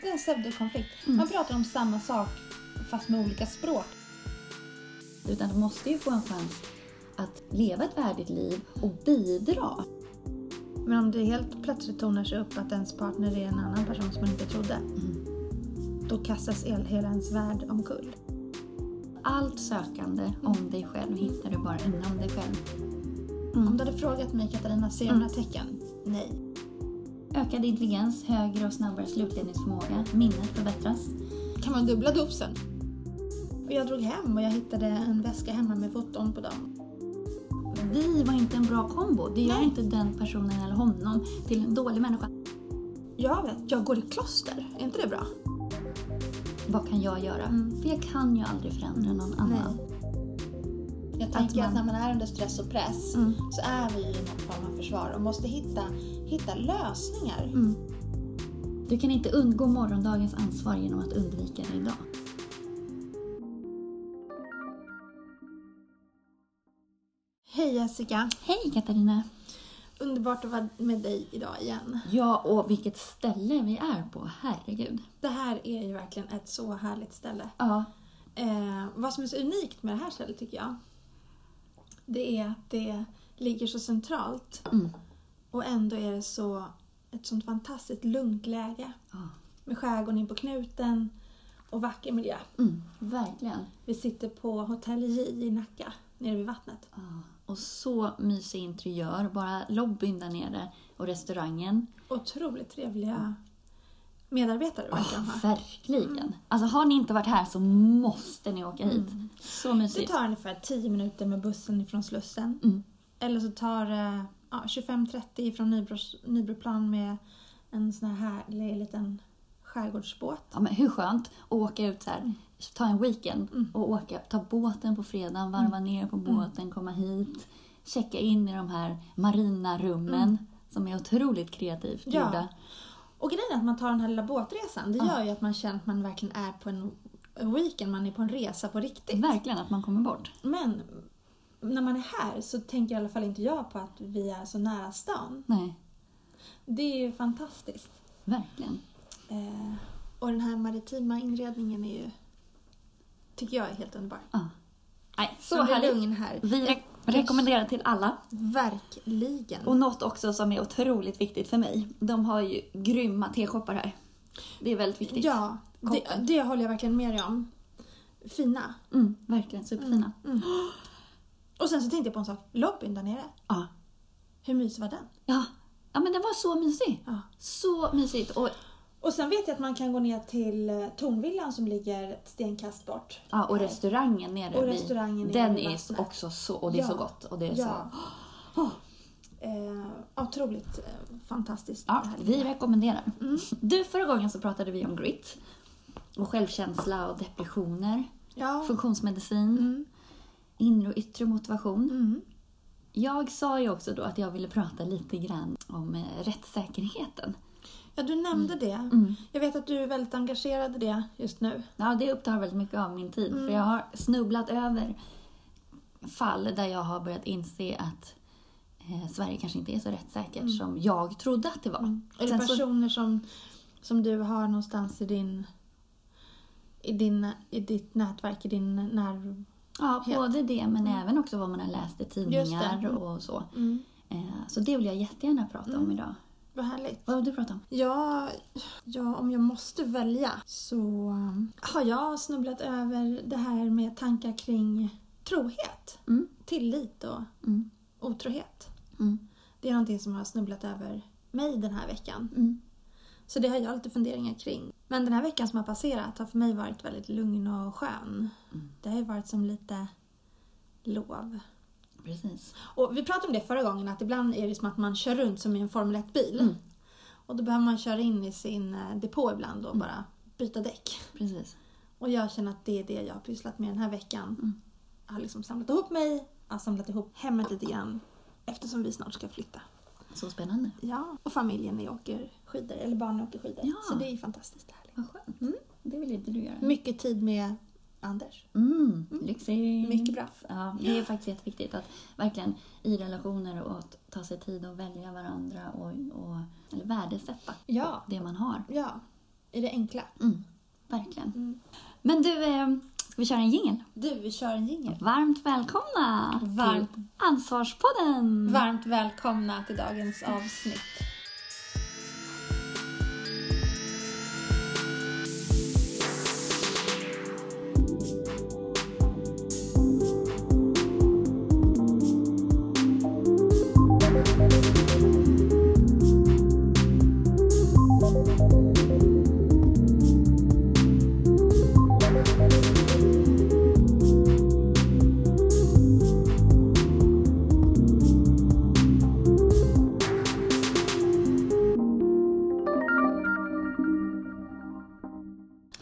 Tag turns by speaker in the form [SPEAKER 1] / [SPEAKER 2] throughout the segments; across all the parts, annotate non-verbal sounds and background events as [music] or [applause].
[SPEAKER 1] Det är en pseudokonflikt. Man pratar om samma sak fast med olika språk.
[SPEAKER 2] Utan de måste ju få en chans att leva ett värdigt liv och bidra.
[SPEAKER 1] Men om det helt plötsligt tonar sig upp att ens partner är en annan person som man inte trodde. Då kastas el- hela ens värld omkull.
[SPEAKER 2] Allt sökande om dig själv hittar du bara inom dig själv.
[SPEAKER 1] Om du hade frågat mig Katarina, ser du
[SPEAKER 2] Mm.
[SPEAKER 1] några tecken? Nej.
[SPEAKER 2] Ökad intelligens, högre och snabbare slutledningsförmåga, minnet förbättras.
[SPEAKER 1] Kan man dubbla dopsen? Och jag drog hem och jag hittade en väska hemma med foton på dem.
[SPEAKER 2] Vi var inte en bra kombo. Det gör
[SPEAKER 1] Nej.
[SPEAKER 2] inte den personen eller honom till en dålig människa.
[SPEAKER 1] Jag vet, jag går i kloster. Är inte det bra?
[SPEAKER 2] Vad kan jag göra?
[SPEAKER 1] Mm.
[SPEAKER 2] För jag kan ju aldrig förändra någon annan.
[SPEAKER 1] Jag tänker att,
[SPEAKER 2] man-
[SPEAKER 1] när man är under stress och press
[SPEAKER 2] Mm.
[SPEAKER 1] så är vi i någon form av försvar och måste hitta, hitta lösningar.
[SPEAKER 2] Mm. Du kan inte undgå morgondagens ansvar genom att undvika det idag.
[SPEAKER 1] Hej Jessica!
[SPEAKER 2] Hej Katarina!
[SPEAKER 1] Underbart att vara med dig idag igen.
[SPEAKER 2] Ja, och vilket ställe vi är på, herregud.
[SPEAKER 1] Det här är ju verkligen ett så härligt ställe.
[SPEAKER 2] Ja,
[SPEAKER 1] Eh, vad som är så unikt med det här stället tycker jag, det är att det ligger så centralt
[SPEAKER 2] Mm.
[SPEAKER 1] och ändå är det så, ett sånt fantastiskt lugnt läge
[SPEAKER 2] Ja.
[SPEAKER 1] med skärgården in på knuten och vacker miljö.
[SPEAKER 2] mm, verkligen.
[SPEAKER 1] Vi sitter på Hotell J i Nacka, nere vid vattnet.
[SPEAKER 2] Ja. Ah, Och så mysig interiör, bara lobbyn där nere och restaurangen.
[SPEAKER 1] Otroligt trevliga medarbetare verkar de ha.
[SPEAKER 2] Verkligen!
[SPEAKER 1] Mm.
[SPEAKER 2] Alltså har ni inte varit här så måste ni åka hit. Så
[SPEAKER 1] Det
[SPEAKER 2] mysigt.
[SPEAKER 1] tar ungefär 10 minuter med bussen från Slussen.
[SPEAKER 2] Mm.
[SPEAKER 1] Eller så tar det ja, 25-30 från Nybros, Nybroplan med en sån här härlig liten skärgårdsbåt.
[SPEAKER 2] Ja, men hur skönt att åka ut så här,
[SPEAKER 1] Mm.
[SPEAKER 2] ta en weekend och åka, ta båten på fredagen, varva
[SPEAKER 1] Mm.
[SPEAKER 2] ner på båten, komma hit, checka in i de här marina rummen som är otroligt kreativt
[SPEAKER 1] Mm. Ja.
[SPEAKER 2] gjorda.
[SPEAKER 1] Och grejen är att man tar den här lilla båtresan, det gör ju att man känner att man verkligen är på en weekend, man är på en resa på riktigt.
[SPEAKER 2] Verkligen att man kommer bort.
[SPEAKER 1] Men när man är här så tänker i alla fall inte jag på att vi är så nära stan.
[SPEAKER 2] Nej,
[SPEAKER 1] Det är ju fantastiskt.
[SPEAKER 2] verkligen.
[SPEAKER 1] Eh, och den här maritima inredningen är ju, tycker jag är helt underbar.
[SPEAKER 2] Ja. Ah. Nej, så,
[SPEAKER 1] Så
[SPEAKER 2] härligt.
[SPEAKER 1] lugn här.
[SPEAKER 2] Vi re- rekommenderar till alla.
[SPEAKER 1] Verkligen.
[SPEAKER 2] Och något också som är otroligt viktigt för mig. De har ju grymma teshoppar här. Det är väldigt viktigt.
[SPEAKER 1] ja, det,
[SPEAKER 2] Koppen.
[SPEAKER 1] det håller jag verkligen med dig om. Fina. Mm.
[SPEAKER 2] Mm, verkligen superfina.
[SPEAKER 1] Och sen så tänkte jag på en sak. Lobbyn där nere.
[SPEAKER 2] Ja.
[SPEAKER 1] Hur mysig var den?
[SPEAKER 2] Ja. ja, men den var så mysig.
[SPEAKER 1] Ja.
[SPEAKER 2] Så mysigt. Och,
[SPEAKER 1] Och sen vet jag att man kan gå ner till eh, Tornvillan som ligger ett stenkast bort.
[SPEAKER 2] ja, och restaurangen nere
[SPEAKER 1] Och restaurangen
[SPEAKER 2] vid,
[SPEAKER 1] nere
[SPEAKER 2] den
[SPEAKER 1] vid
[SPEAKER 2] är
[SPEAKER 1] vattnet.
[SPEAKER 2] också så, och det är
[SPEAKER 1] Ja.
[SPEAKER 2] så gott. Och det är
[SPEAKER 1] Ja. Oh.
[SPEAKER 2] så,
[SPEAKER 1] [gasps] Eh, otroligt eh, fantastiskt. Mm.
[SPEAKER 2] ja,
[SPEAKER 1] det här
[SPEAKER 2] vi
[SPEAKER 1] lilla.
[SPEAKER 2] rekommenderar. Du, förra gången så pratade vi om grit. Och självkänsla och depressioner.
[SPEAKER 1] ja.
[SPEAKER 2] Funktionsmedicin.
[SPEAKER 1] Mm.
[SPEAKER 2] Inre och yttre motivation.
[SPEAKER 1] Mm.
[SPEAKER 2] Jag sa ju också då att jag ville prata lite grann om eh, rättssäkerheten.
[SPEAKER 1] ja, du
[SPEAKER 2] Mm.
[SPEAKER 1] nämnde det. Jag vet att du är väldigt engagerad i det just nu.
[SPEAKER 2] Ja, det upptar väldigt mycket av min tid
[SPEAKER 1] Mm.
[SPEAKER 2] för jag har snubblat över fall där jag har börjat inse att eh, Sverige kanske inte är så rättssäkert
[SPEAKER 1] Mm.
[SPEAKER 2] som jag trodde att det var.
[SPEAKER 1] Är det
[SPEAKER 2] Sen så,
[SPEAKER 1] personer som, som du har någonstans i din... I, din, I ditt nätverk, i din nerv...
[SPEAKER 2] ja,
[SPEAKER 1] helt.
[SPEAKER 2] både det men även också vad man har läst i tidningar
[SPEAKER 1] Mm.
[SPEAKER 2] och så. Eh, så det vill jag jättegärna prata om idag.
[SPEAKER 1] Vad härligt.
[SPEAKER 2] Vad vill du prata om?
[SPEAKER 1] Ja, ja, om jag måste välja så um, har jag snubblat över det här med tankar kring trohet,
[SPEAKER 2] Mm.
[SPEAKER 1] tillit och
[SPEAKER 2] Mm.
[SPEAKER 1] otrohet.
[SPEAKER 2] Mm.
[SPEAKER 1] Det är någonting som har snubblat över mig den här veckan.
[SPEAKER 2] Mm.
[SPEAKER 1] Så det har jag lite funderingar kring. Men den här veckan som har passerat har för mig varit väldigt lugn och skön. Det har ju varit som lite lov.
[SPEAKER 2] Precis.
[SPEAKER 1] Och vi pratade om det förra gången, att ibland är det som att man kör runt som i en Formel 1-bil. Och då behöver man köra in i sin eh, depå ibland och bara byta däck.
[SPEAKER 2] Precis.
[SPEAKER 1] Och jag känner att det är det jag har pysslat med den här veckan. Jag har liksom samlat ihop mig, jag har samlat ihop hemmet lite grann eftersom vi snart ska flytta.
[SPEAKER 2] Så spännande.
[SPEAKER 1] Ja, och familjen när jag åker skidor, eller barnen åker skidor.
[SPEAKER 2] Ja.
[SPEAKER 1] Så det är ju fantastiskt härligt.
[SPEAKER 2] Vad skönt. Mm. Det vill inte du göra.
[SPEAKER 1] Mycket tid med Anders.
[SPEAKER 2] Mm, lyxigt.
[SPEAKER 1] Mycket bra.
[SPEAKER 2] Ja, det är faktiskt jätteviktigt att verkligen i relationer och att ta sig tid att välja varandra och, och eller värdesätta
[SPEAKER 1] Ja.
[SPEAKER 2] det man har.
[SPEAKER 1] Ja. i det enkla.
[SPEAKER 2] Mm, verkligen.
[SPEAKER 1] Mm.
[SPEAKER 2] Men du, eh, ska vi köra en jingel?
[SPEAKER 1] Du, vi kör en jingel.
[SPEAKER 2] Varmt välkomna
[SPEAKER 1] Varmt.
[SPEAKER 2] till Ansvarspodden!
[SPEAKER 1] Varmt välkomna till dagens avsnitt.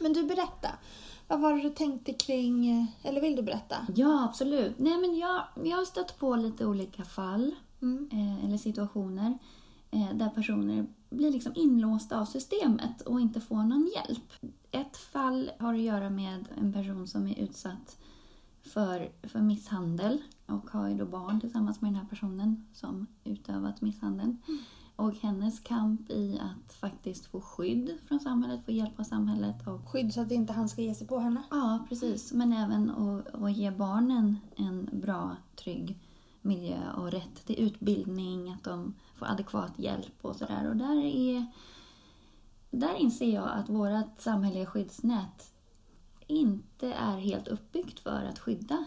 [SPEAKER 1] Men du, berätta. Vad var det du tänkte kring, eh, eller vill du berätta?
[SPEAKER 2] Ja, absolut. Nej, men jag, jag har stött på lite olika fall
[SPEAKER 1] Mm.
[SPEAKER 2] eh, eller situationer eh, där personer blir liksom inlåsta av systemet och inte får någon hjälp. Ett fall har att göra med en person som är utsatt för, för misshandel och har ju då barn tillsammans med den här personen som utövat misshandeln. Och hennes kamp i att faktiskt få skydd från samhället, få hjälp av samhället och
[SPEAKER 1] Skydd så att inte han ska ge sig på henne.
[SPEAKER 2] Ja, precis. Men även att, att ge barnen en bra, trygg miljö och rätt till utbildning, att de får adekvat hjälp och sådär. Och där, är, där inser jag att vårt samhälleliga skyddsnät inte är helt uppbyggt för att skydda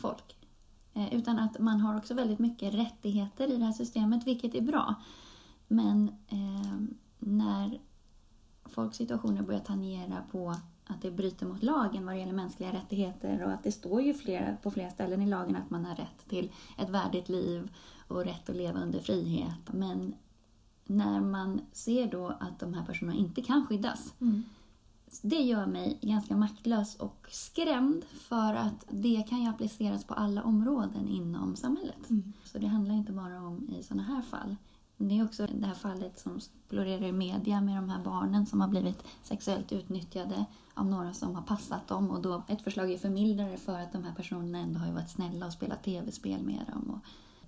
[SPEAKER 2] folk. Eh, Utan att man har också väldigt mycket rättigheter i det här systemet, vilket är bra. Men eh, när folks situationer börjar tangera på att det bryter mot lagen vad det gäller mänskliga rättigheter och att det står ju flera, på flera ställen i lagen att man har rätt till ett värdigt liv och rätt att leva under frihet. Men när man ser då att de här personerna inte kan skyddas,
[SPEAKER 1] Mm.
[SPEAKER 2] det gör mig ganska maktlös och skrämd för att det kan ju appliceras på alla områden inom samhället.
[SPEAKER 1] Mm.
[SPEAKER 2] Så det handlar inte bara om i sådana här fall. Det är också det här fallet som florerar i media med de här barnen som har blivit sexuellt utnyttjade av några som har passat dem och då ett förslag är förmildrande för att de här personerna ändå har ju varit snälla och spelat tv-spel med dem. Och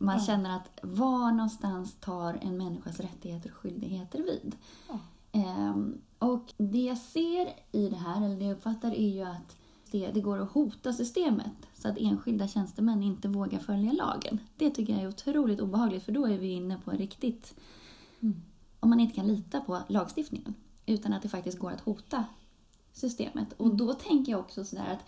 [SPEAKER 2] man
[SPEAKER 1] Ja.
[SPEAKER 2] känner att var någonstans tar en människas rättigheter och skyldigheter vid?
[SPEAKER 1] Ja.
[SPEAKER 2] Ehm, och det jag ser i det här, eller det jag uppfattar, är ju att det, det går att hota systemet så att enskilda tjänstemän inte vågar följa lagen. Det tycker jag är otroligt obehagligt för då är vi inne på riktigt...
[SPEAKER 1] Mm.
[SPEAKER 2] Om man inte kan lita på lagstiftningen utan att det faktiskt går att hota systemet. Och då tänker jag också sådär att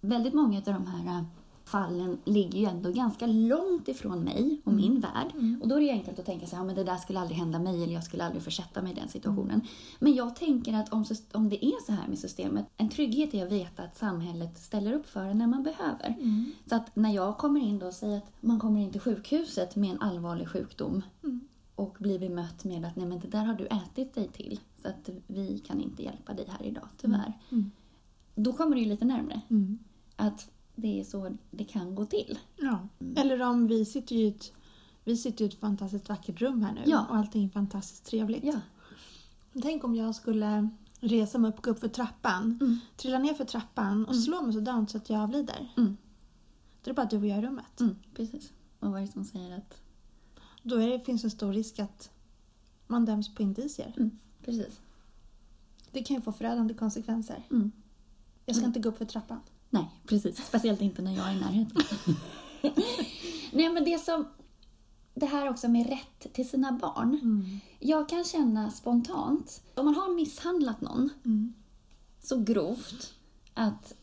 [SPEAKER 2] väldigt många av de här äh, fallen ligger ju ändå ganska långt ifrån mig och min värld. Och då är det ju enkelt att tänka sig, ja men det där skulle aldrig hända mig eller jag skulle aldrig försätta mig i den situationen. Men jag tänker att om, sys- om det är så här med systemet, en trygghet är att veta att samhället ställer upp för en när man behöver.
[SPEAKER 1] Mm.
[SPEAKER 2] Så att när jag kommer in då och säger att man kommer in till sjukhuset med en allvarlig sjukdom
[SPEAKER 1] Mm.
[SPEAKER 2] och blir bemött med att nej men det där har du ätit dig till så att vi kan inte hjälpa dig här idag tyvärr.
[SPEAKER 1] Mm.
[SPEAKER 2] Då kommer det ju lite närmare
[SPEAKER 1] Mm.
[SPEAKER 2] att det är så det kan gå till.
[SPEAKER 1] Ja. Eller om vi sitter ju i ett, vi sitter ju i ett fantastiskt vackert rum här nu
[SPEAKER 2] Ja.
[SPEAKER 1] och allting är fantastiskt trevligt. Tänk om jag skulle resa mig upp, gå upp för trappan,
[SPEAKER 2] Mm.
[SPEAKER 1] trilla ner för trappan och slå mig så dant så att jag avlider.
[SPEAKER 2] Mm.
[SPEAKER 1] Då är det bara du och jag i rummet.
[SPEAKER 2] Mm, precis. Och vad är det som säger att...
[SPEAKER 1] Då är det, finns en stor risk att man döms på indicier.
[SPEAKER 2] Mm, precis.
[SPEAKER 1] Det kan ju få förödande konsekvenser.
[SPEAKER 2] Mm.
[SPEAKER 1] Jag ska inte gå upp för trappan.
[SPEAKER 2] Nej, precis. Speciellt inte när jag är
[SPEAKER 1] [laughs]
[SPEAKER 2] i närheten. Nej, men det som... Det här också med rätt till sina barn. Jag kan känna spontant, om man har misshandlat någon
[SPEAKER 1] Mm.
[SPEAKER 2] så grovt att...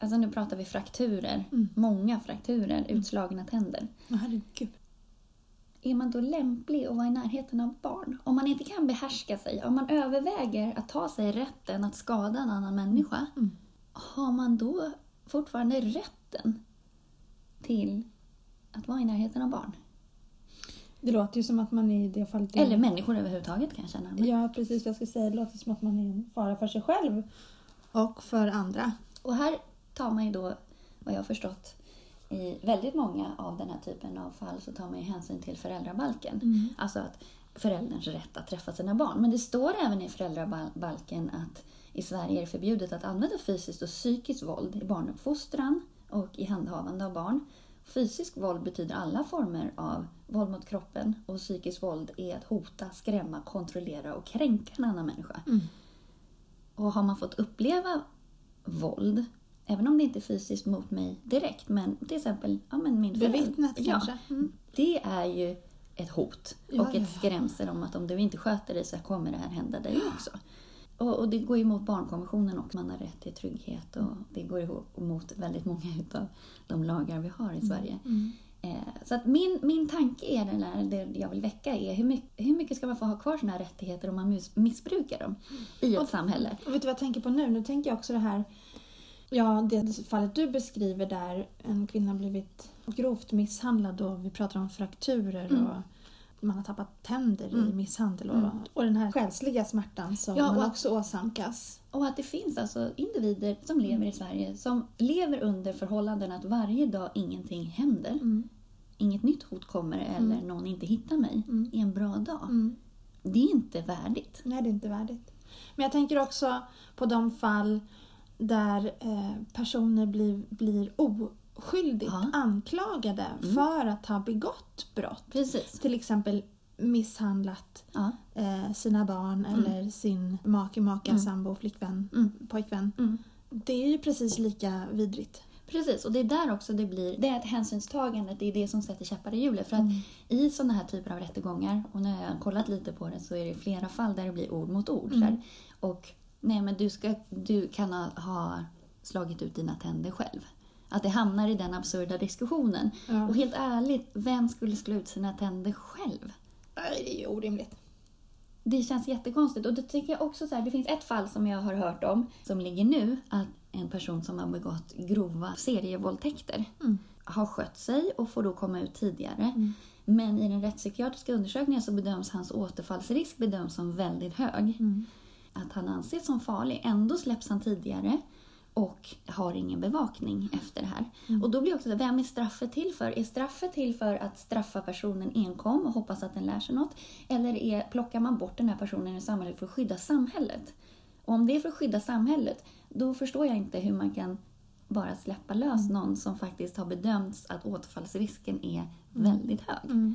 [SPEAKER 2] Alltså nu pratar vi frakturer.
[SPEAKER 1] Mm.
[SPEAKER 2] Många frakturer, utslagna tänder.
[SPEAKER 1] Åh, herregud.
[SPEAKER 2] Är man då lämplig att vara i närheten av barn? Om man inte kan behärska sig, om man överväger att ta sig rätten att skada en annan människa,
[SPEAKER 1] Mm.
[SPEAKER 2] har man då fortfarande rätten till att vara i närheten av barn?
[SPEAKER 1] Det låter ju som att man i det fallet... är-
[SPEAKER 2] Eller människor överhuvudtaget kan jag känna. Men-
[SPEAKER 1] Ja, precis vad jag skulle säga. Det låter som att man är en fara för sig själv. Och för andra.
[SPEAKER 2] Och här tar man ju då, vad jag har förstått, i väldigt många av den här typen av fall så tar man ju hänsyn till föräldrabalken.
[SPEAKER 1] Mm.
[SPEAKER 2] Alltså att förälderns rätt att träffa sina barn. Men det står även i föräldrabalken att i Sverige är det förbjudet att använda fysiskt och psykiskt våld i barnuppfostran och i handhavande av barn. Fysisk våld betyder alla former av våld mot kroppen och psykiskt våld är att hota, skrämma, kontrollera och kränka en annan människa. Och har man fått uppleva våld, även om det inte är fysiskt mot mig direkt, men till exempel ja, men min förälder.
[SPEAKER 1] Bevittnat
[SPEAKER 2] ja,
[SPEAKER 1] kanske. Mm.
[SPEAKER 2] Det är ju ett hot
[SPEAKER 1] Ja,
[SPEAKER 2] och
[SPEAKER 1] ja, ja.
[SPEAKER 2] ett skrämsel om att om du inte sköter dig så kommer det här hända dig också. Och, och det går ju emot barnkonventionen också. Man har rätt till trygghet och det går ihop emot väldigt många utav de lagar vi har i Sverige.
[SPEAKER 1] Mm.
[SPEAKER 2] Eh, så att min, min tanke är den här, det jag vill väcka är hur mycket, hur mycket ska man få ha kvar sina rättigheter om man mus- missbrukar dem i ett
[SPEAKER 1] Mm. Och-
[SPEAKER 2] samhälle?
[SPEAKER 1] Och vet du vad jag tänker på nu? Nu tänker jag också det här Ja, det fallet du beskriver där en kvinna blivit grovt misshandlad och vi pratar om frakturer
[SPEAKER 2] Mm.
[SPEAKER 1] och man har tappat tänder i misshandel och, och den här själsliga smärtan som
[SPEAKER 2] Ja,
[SPEAKER 1] man
[SPEAKER 2] och-
[SPEAKER 1] också åsamkas.
[SPEAKER 2] Och att det finns alltså individer som lever i Sverige som lever under förhållanden att varje dag ingenting händer. Inget nytt hot kommer eller någon inte hittar mig i en bra dag. Det är inte värdigt.
[SPEAKER 1] Mm. Nej, det är inte värdigt. Men jag tänker också på de fall där eh, personer blir, blir oskyldigt
[SPEAKER 2] Ja. Mm.
[SPEAKER 1] anklagade för att ha begått brott.
[SPEAKER 2] Precis.
[SPEAKER 1] Till exempel misshandlat
[SPEAKER 2] Ja.
[SPEAKER 1] eh, sina barn
[SPEAKER 2] Mm.
[SPEAKER 1] eller sin make, maka, sambo, flickvän, pojkvän.
[SPEAKER 2] Mm.
[SPEAKER 1] Det är ju precis lika vidrigt.
[SPEAKER 2] Precis, och det är där också det blir, det är ett hänsynstagande, det är det som sätter käppar i hjulet. För att i sådana här typer av rättegångar, och när jag har kollat lite på det så är det flera fall där det blir ord mot ord. Så här, och nej men du, ska, du kan ha, ha slagit ut dina tänder själv. Att det hamnar i den absurda diskussionen.
[SPEAKER 1] Ja.
[SPEAKER 2] Och helt ärligt, vem skulle slå ut sina tänder själv?
[SPEAKER 1] Nej, det är ju orimligt.
[SPEAKER 2] Det känns jättekonstigt. Och det tycker jag också så här, det finns ett fall som jag har hört om som ligger nu. Att en person som har begått grova serievåldtäkter har skött sig och får då komma ut tidigare. Men i den rättspsykiatriska undersökningen så bedöms hans återfallsrisk bedöms som väldigt hög. Att han anses som farlig. Ändå släpps han tidigare och har ingen bevakning efter det här. Och då blir också det, vem är straffet till för? Är straffet till för att straffa personen enkom och hoppas att den lär sig något? Eller är, plockar man bort den här personen ur samhället för att skydda samhället? Och om det är för att skydda samhället, då förstår jag inte hur man kan bara släppa lös någon som faktiskt har bedömts att återfallsrisken är väldigt hög.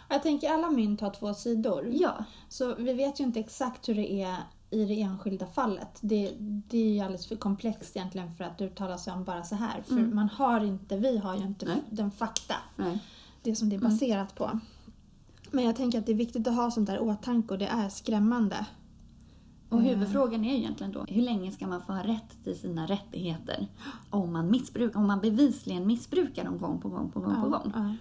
[SPEAKER 1] Och Jag tänker alla mynt har två sidor.
[SPEAKER 2] Ja,
[SPEAKER 1] Så vi vet ju inte exakt hur det är i det enskilda fallet. Det, det är ju alldeles för komplext egentligen för att uttala sig om bara så här. För man har inte, vi har ju inte
[SPEAKER 2] Mm. Nej.
[SPEAKER 1] den fakta,
[SPEAKER 2] nej. Mm.
[SPEAKER 1] det som det är baserat på. Men jag tänker att det är viktigt att ha sånt där i åtanke och det är skrämmande.
[SPEAKER 2] Och
[SPEAKER 1] Mm.
[SPEAKER 2] huvudfrågan är ju egentligen då, hur länge ska man få ha rätt till sina rättigheter om man, missbrukar, om man bevisligen missbrukar dem gång på gång på gång på gång?
[SPEAKER 1] Ja.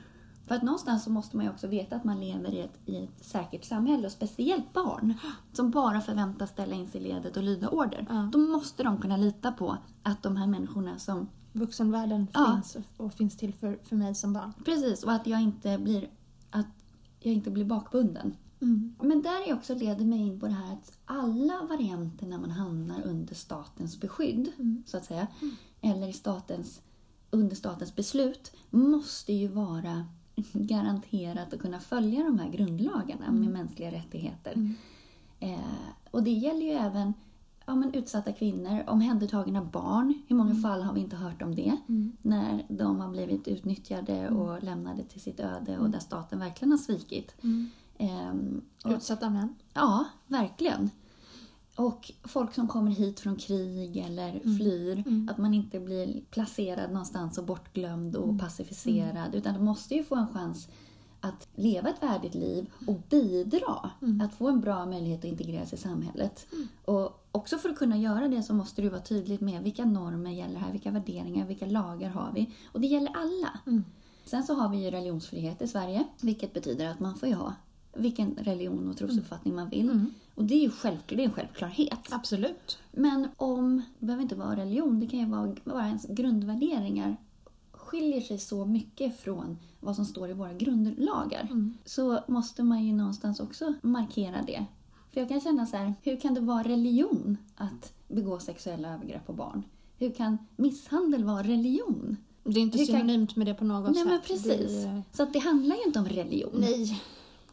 [SPEAKER 2] För att någonstans så måste man ju också veta att man lever i ett, i ett säkert samhälle och speciellt barn som bara förväntas ställa in sig i ledet och lyda order.
[SPEAKER 1] Ja.
[SPEAKER 2] Då måste de kunna lita på att de här människorna som...
[SPEAKER 1] Vuxenvärlden
[SPEAKER 2] Ja.
[SPEAKER 1] finns och- och finns till för, för mig som barn.
[SPEAKER 2] Precis, och att jag inte blir, att jag inte blir bakbunden.
[SPEAKER 1] Mm.
[SPEAKER 2] Men där är också leder mig in på det här att alla varianter när man hamnar under statens beskydd, så att säga, eller i statens, under statens beslut, måste ju vara [laughs] garanterat att kunna följa de här grundlagarna med mänskliga rättigheter. Eh, och det gäller ju även ja, men utsatta kvinnor, omhändertagna barn. Hur många fall har vi inte hört om det?
[SPEAKER 1] Mm.
[SPEAKER 2] När de har blivit utnyttjade och lämnade till sitt öde och där staten verkligen har svikit.
[SPEAKER 1] Mm.
[SPEAKER 2] Ehm, och-
[SPEAKER 1] Utsatta män.
[SPEAKER 2] Ja, verkligen. Och folk som kommer hit från krig eller flyr, att man inte blir placerad någonstans och bortglömd och pacificerad. Utan de måste ju få en chans att leva ett värdigt liv och bidra. Att få en bra möjlighet att integreras i samhället. Och också för att kunna göra det så måste du vara tydligt med vilka normer gäller här, vilka värderingar, vilka lagar har vi? Och det gäller alla. Sen så har vi ju religionsfrihet i Sverige, vilket betyder att man får ju ha vilken religion och trosuppfattning man vill. Och det är ju självklart, det är en självklarhet.
[SPEAKER 1] Absolut.
[SPEAKER 2] Men om, det behöver inte vara religion, det kan ju vara bara ens grundvärderingar skiljer sig så mycket från vad som står i våra grundlagar
[SPEAKER 1] Mm.
[SPEAKER 2] så måste man ju någonstans också markera det. För jag kan känna så här, hur kan det vara religion att begå sexuella övergrepp på barn? Hur kan misshandel vara religion?
[SPEAKER 1] Det är inte
[SPEAKER 2] Hur kan-
[SPEAKER 1] synonymt med det på något
[SPEAKER 2] Nej
[SPEAKER 1] sätt.
[SPEAKER 2] men precis.
[SPEAKER 1] Det är- Mm.
[SPEAKER 2] Så att det handlar ju inte om religion.
[SPEAKER 1] Nej,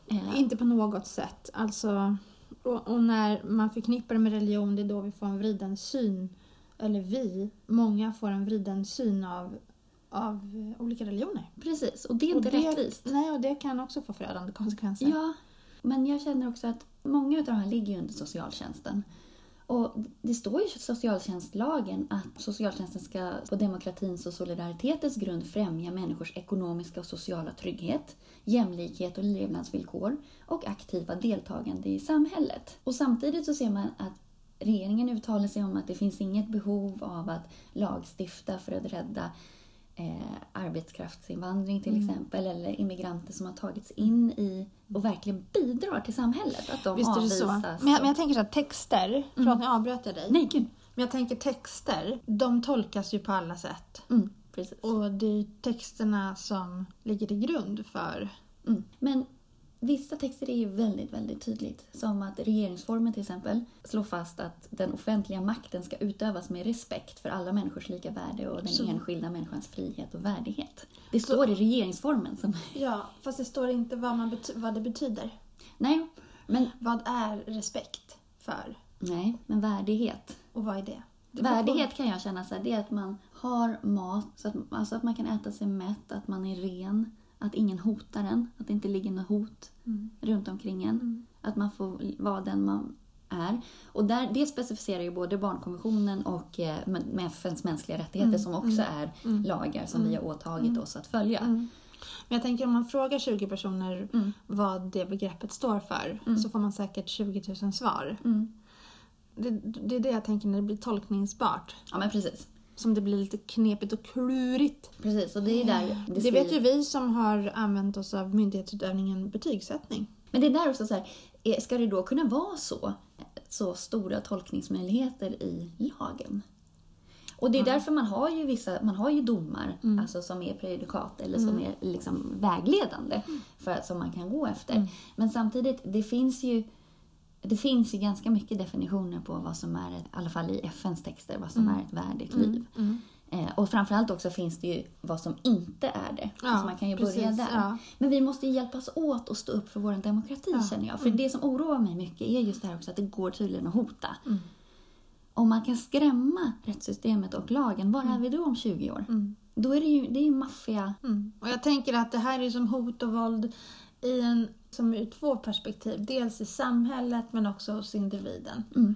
[SPEAKER 2] Eh,
[SPEAKER 1] inte på något sätt. Alltså, och, och när man förknippar det med religion, det är då vi får en vriden syn. Eller vi, många får en vriden syn av, av eh, olika religioner.
[SPEAKER 2] Precis, och det är inte
[SPEAKER 1] och det,
[SPEAKER 2] rättvist.
[SPEAKER 1] Nej, och det kan också få förödande konsekvenser.
[SPEAKER 2] Ja, men jag känner också att många av de här ligger ju under socialtjänsten. Och det står ju i socialtjänstlagen att socialtjänsten ska på demokratins och solidaritetens grund främja människors ekonomiska och sociala trygghet, jämlikhet och levnadsvillkor och aktiva deltagande i samhället. Och samtidigt så ser man att regeringen uttalar sig om att det finns inget behov av att lagstifta för att rädda eh, arbetskraftsinvandring
[SPEAKER 1] Mm.
[SPEAKER 2] till exempel eller immigranter som har tagits in i och verkligen bidrar till samhället. Att de
[SPEAKER 1] Visst är det
[SPEAKER 2] avvisas.
[SPEAKER 1] så. Men jag, men jag tänker så att texter, förlåt nu avbröt jag dig.
[SPEAKER 2] Nej, gud.
[SPEAKER 1] Men jag tänker texter, de tolkas ju på alla sätt.
[SPEAKER 2] Mm, precis.
[SPEAKER 1] Och det är ju texterna som ligger till grund för...
[SPEAKER 2] Mm. Men vissa texter är ju väldigt, väldigt tydligt. Som att regeringsformen till exempel slår fast att den offentliga makten ska utövas med respekt för alla människors lika värde och den
[SPEAKER 1] Så-
[SPEAKER 2] enskilda människans frihet och värdighet. Det står i regeringsformen. Som...
[SPEAKER 1] Ja, fast det står inte vad, man bet- vad det betyder.
[SPEAKER 2] Nej, men,
[SPEAKER 1] Vad är respekt för
[SPEAKER 2] nej, men värdighet.
[SPEAKER 1] och vad är det? det beror på-
[SPEAKER 2] Värdighet kan jag känna så här, det är att man har mat, så att, alltså att man kan äta sig mätt, att man är ren, att ingen hotar en, att det inte ligger något hot
[SPEAKER 1] Mm.
[SPEAKER 2] runt omkring en. Att man får vara den man är. Och där, det specificerar ju både barnkonventionen och eh, men- med FNs mänskliga rättigheter
[SPEAKER 1] Mm.
[SPEAKER 2] som också är lagar som vi har åtagit oss att följa.
[SPEAKER 1] Mm. Men jag tänker om man frågar 20 personer vad det begreppet står för så får man säkert 20 000 svar. Det, det är det jag tänker när det blir tolkningsbart.
[SPEAKER 2] Ja men precis.
[SPEAKER 1] Som det blir lite knepigt och klurigt.
[SPEAKER 2] Precis, och det är där
[SPEAKER 1] Eh, Det,
[SPEAKER 2] skriver-
[SPEAKER 1] vet ju vi som har använt oss av myndighetsutövningen betygssättning.
[SPEAKER 2] Men det är där också så här, eh, ska det då kunna vara så, så stora tolkningsmöjligheter i lagen? Och det är därför man har ju vissa, man har ju domar
[SPEAKER 1] Mm.
[SPEAKER 2] alltså som är prejudikat eller som är liksom vägledande
[SPEAKER 1] Mm.
[SPEAKER 2] för att, som man kan gå efter. Men samtidigt, det finns ju det finns ju ganska mycket definitioner på vad som är, ett, i alla fall i FNs texter, vad
[SPEAKER 1] Mm.
[SPEAKER 2] som är ett värdigt liv. Eh, och framförallt också finns det ju vad som inte är det.
[SPEAKER 1] Ja,
[SPEAKER 2] alltså man kan ju börja
[SPEAKER 1] precis,
[SPEAKER 2] där.
[SPEAKER 1] ja.
[SPEAKER 2] Men vi måste ju hjälpas åt att stå upp för vår demokrati känner jag. För det som oroar mig mycket är just det här också att det går tydligen att hota. Om man kan skrämma rättssystemet och lagen, var är vi då om 20 år? Då är det ju, det är ju maffia...
[SPEAKER 1] Mm. Och jag tänker att det här är som hot och våld i en, som ur två perspektiv. Dels i samhället men också hos individen.
[SPEAKER 2] Mm.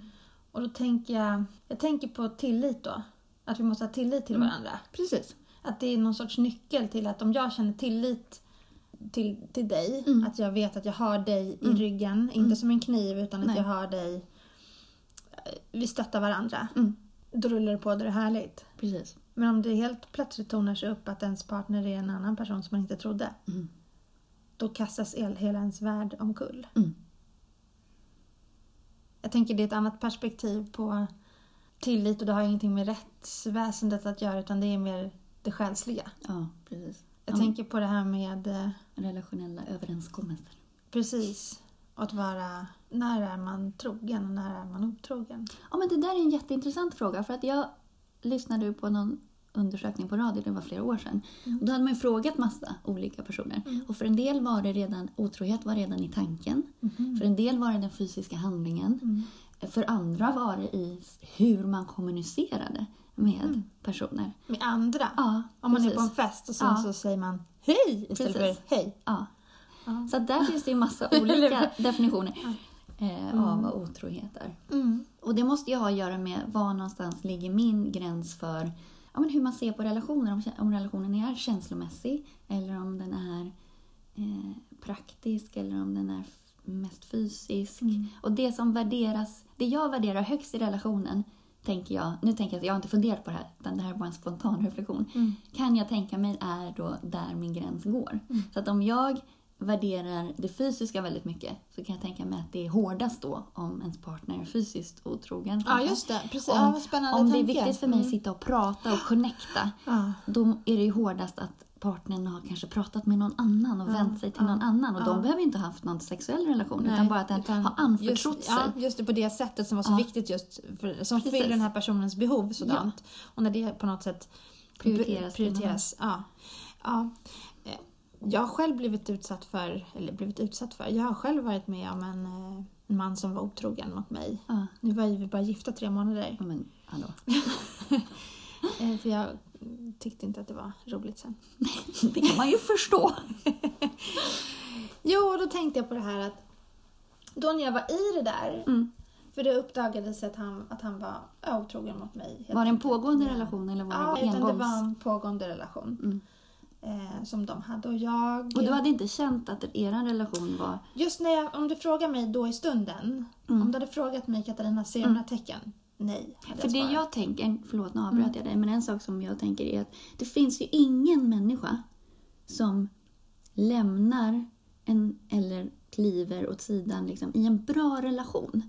[SPEAKER 1] Och då tänker jag, jag tänker på tillit då. Att vi måste ha tillit till varandra.
[SPEAKER 2] Mm. Precis.
[SPEAKER 1] Att det är någon sorts nyckel till att om jag känner tillit till, till dig,
[SPEAKER 2] Mm.
[SPEAKER 1] att jag vet att jag har dig i ryggen, inte som en kniv utan att
[SPEAKER 2] Nej.
[SPEAKER 1] jag har dig, eh, vi stöttar varandra.
[SPEAKER 2] Mm.
[SPEAKER 1] Då rullar det på, då är det härligt.
[SPEAKER 2] Precis.
[SPEAKER 1] Men om det helt plötsligt tonar sig upp att ens partner är en annan person som man inte trodde,
[SPEAKER 2] Mm.
[SPEAKER 1] då kastas el, hela ens värld omkull.
[SPEAKER 2] Mm.
[SPEAKER 1] Jag tänker det är ett annat perspektiv på tillit och det har ingenting med rättsväsendet att göra utan det är mer det själsliga.
[SPEAKER 2] Ja, precis.
[SPEAKER 1] Jag
[SPEAKER 2] Ja,
[SPEAKER 1] tänker på det här med, eh,
[SPEAKER 2] Relationella överenskommelser.
[SPEAKER 1] precis, att vara, när är man trogen och när är man otrogen?
[SPEAKER 2] Ja, men det där är en jätteintressant fråga. För att jag lyssnade ju på någon undersökning på radio, det var flera år sedan. Och då hade man ju frågat massa olika personer. Och för en del var det redan, otrohet var redan i tanken.
[SPEAKER 1] Mhm.
[SPEAKER 2] För en del var det den fysiska handlingen.
[SPEAKER 1] Mm.
[SPEAKER 2] För andra var det i hur man kommunicerade med personer.
[SPEAKER 1] Med andra.
[SPEAKER 2] Ja,
[SPEAKER 1] Mm. Om man är
[SPEAKER 2] precis.
[SPEAKER 1] på en fest och sen
[SPEAKER 2] Ja.
[SPEAKER 1] så säger man hej istället
[SPEAKER 2] Precis.
[SPEAKER 1] för hej.
[SPEAKER 2] Ja. Så att där finns det ju
[SPEAKER 1] [laughs]
[SPEAKER 2] massa olika definitioner eh, av vad otrohet är.
[SPEAKER 1] Mm.
[SPEAKER 2] Och det måste ju ha att göra med var någonstans ligger min gräns för ja, men hur man ser på relationer. Om, om relationen är känslomässig eller om den är eh, praktisk eller om den är f- mest fysisk. Och det som värderas, det jag värderar högst i relationen tänker jag, nu tänker jag att jag har inte funderat på det här utan det här är bara en spontan reflektion.
[SPEAKER 1] Mm.
[SPEAKER 2] Kan jag tänka mig är då där min gräns går.
[SPEAKER 1] Mm.
[SPEAKER 2] Så att om jag värderar det fysiska väldigt mycket så kan jag tänka mig att det är hårdast då om ens partner är fysiskt otrogen.
[SPEAKER 1] Ja, just det. Precis. ja, Mm. vad
[SPEAKER 2] Om,
[SPEAKER 1] spännande
[SPEAKER 2] om det är
[SPEAKER 1] tanke.
[SPEAKER 2] viktigt för mig att sitta och prata och connecta
[SPEAKER 1] Ja.
[SPEAKER 2] då är det ju hårdast att partnern har kanske pratat med någon annan och vänt sig till någon annan. Och de behöver ju inte ha haft någon sexuell relation utan
[SPEAKER 1] Nej,
[SPEAKER 2] bara att den
[SPEAKER 1] utan
[SPEAKER 2] har anförtrott
[SPEAKER 1] just,
[SPEAKER 2] sig.
[SPEAKER 1] Ja, just det, på det sättet som var så viktigt just för, som
[SPEAKER 2] Precis.
[SPEAKER 1] fyller den här personens behov sådant. Och när det på något sätt
[SPEAKER 2] Prioriteras till
[SPEAKER 1] prioriteras ja. ja. Eh, Jag har själv blivit utsatt för, eller blivit utsatt för, jag har själv varit med om en, eh, en man som var otrogen mot mig.
[SPEAKER 2] Ja.
[SPEAKER 1] Nu var ju vi bara gifta tre månader.
[SPEAKER 2] Ja, men hallå. [laughs]
[SPEAKER 1] eh, För jag mm, tyckte inte att det var roligt sen.
[SPEAKER 2] Det kan man
[SPEAKER 1] [laughs]
[SPEAKER 2] ju förstå. Mm.
[SPEAKER 1] Jo, och då tänkte jag på det här att då när jag var i det där, För det uppdagades att han, att han var otrogen mot mig. helt
[SPEAKER 2] Var det en
[SPEAKER 1] enkelt.
[SPEAKER 2] pågående relation eller var det
[SPEAKER 1] Ja,
[SPEAKER 2] bara
[SPEAKER 1] utan det
[SPEAKER 2] engångs?
[SPEAKER 1] var en pågående relation
[SPEAKER 2] Mm.
[SPEAKER 1] eh, som de hade. Och jag...
[SPEAKER 2] Och du hade inte känt att er relation var...
[SPEAKER 1] Just när jag, om du frågar mig då i stunden,
[SPEAKER 2] Mm.
[SPEAKER 1] om du hade frågat mig Katarina, ser du några tecken? Nej, hade
[SPEAKER 2] För det
[SPEAKER 1] svarat.
[SPEAKER 2] jag tänker, en- förlåt nu
[SPEAKER 1] Mm.
[SPEAKER 2] avbröt jag dig, men en sak som jag tänker är att det finns ju ingen människa som lämnar en, eller kliver åt sidan liksom, i en bra relation.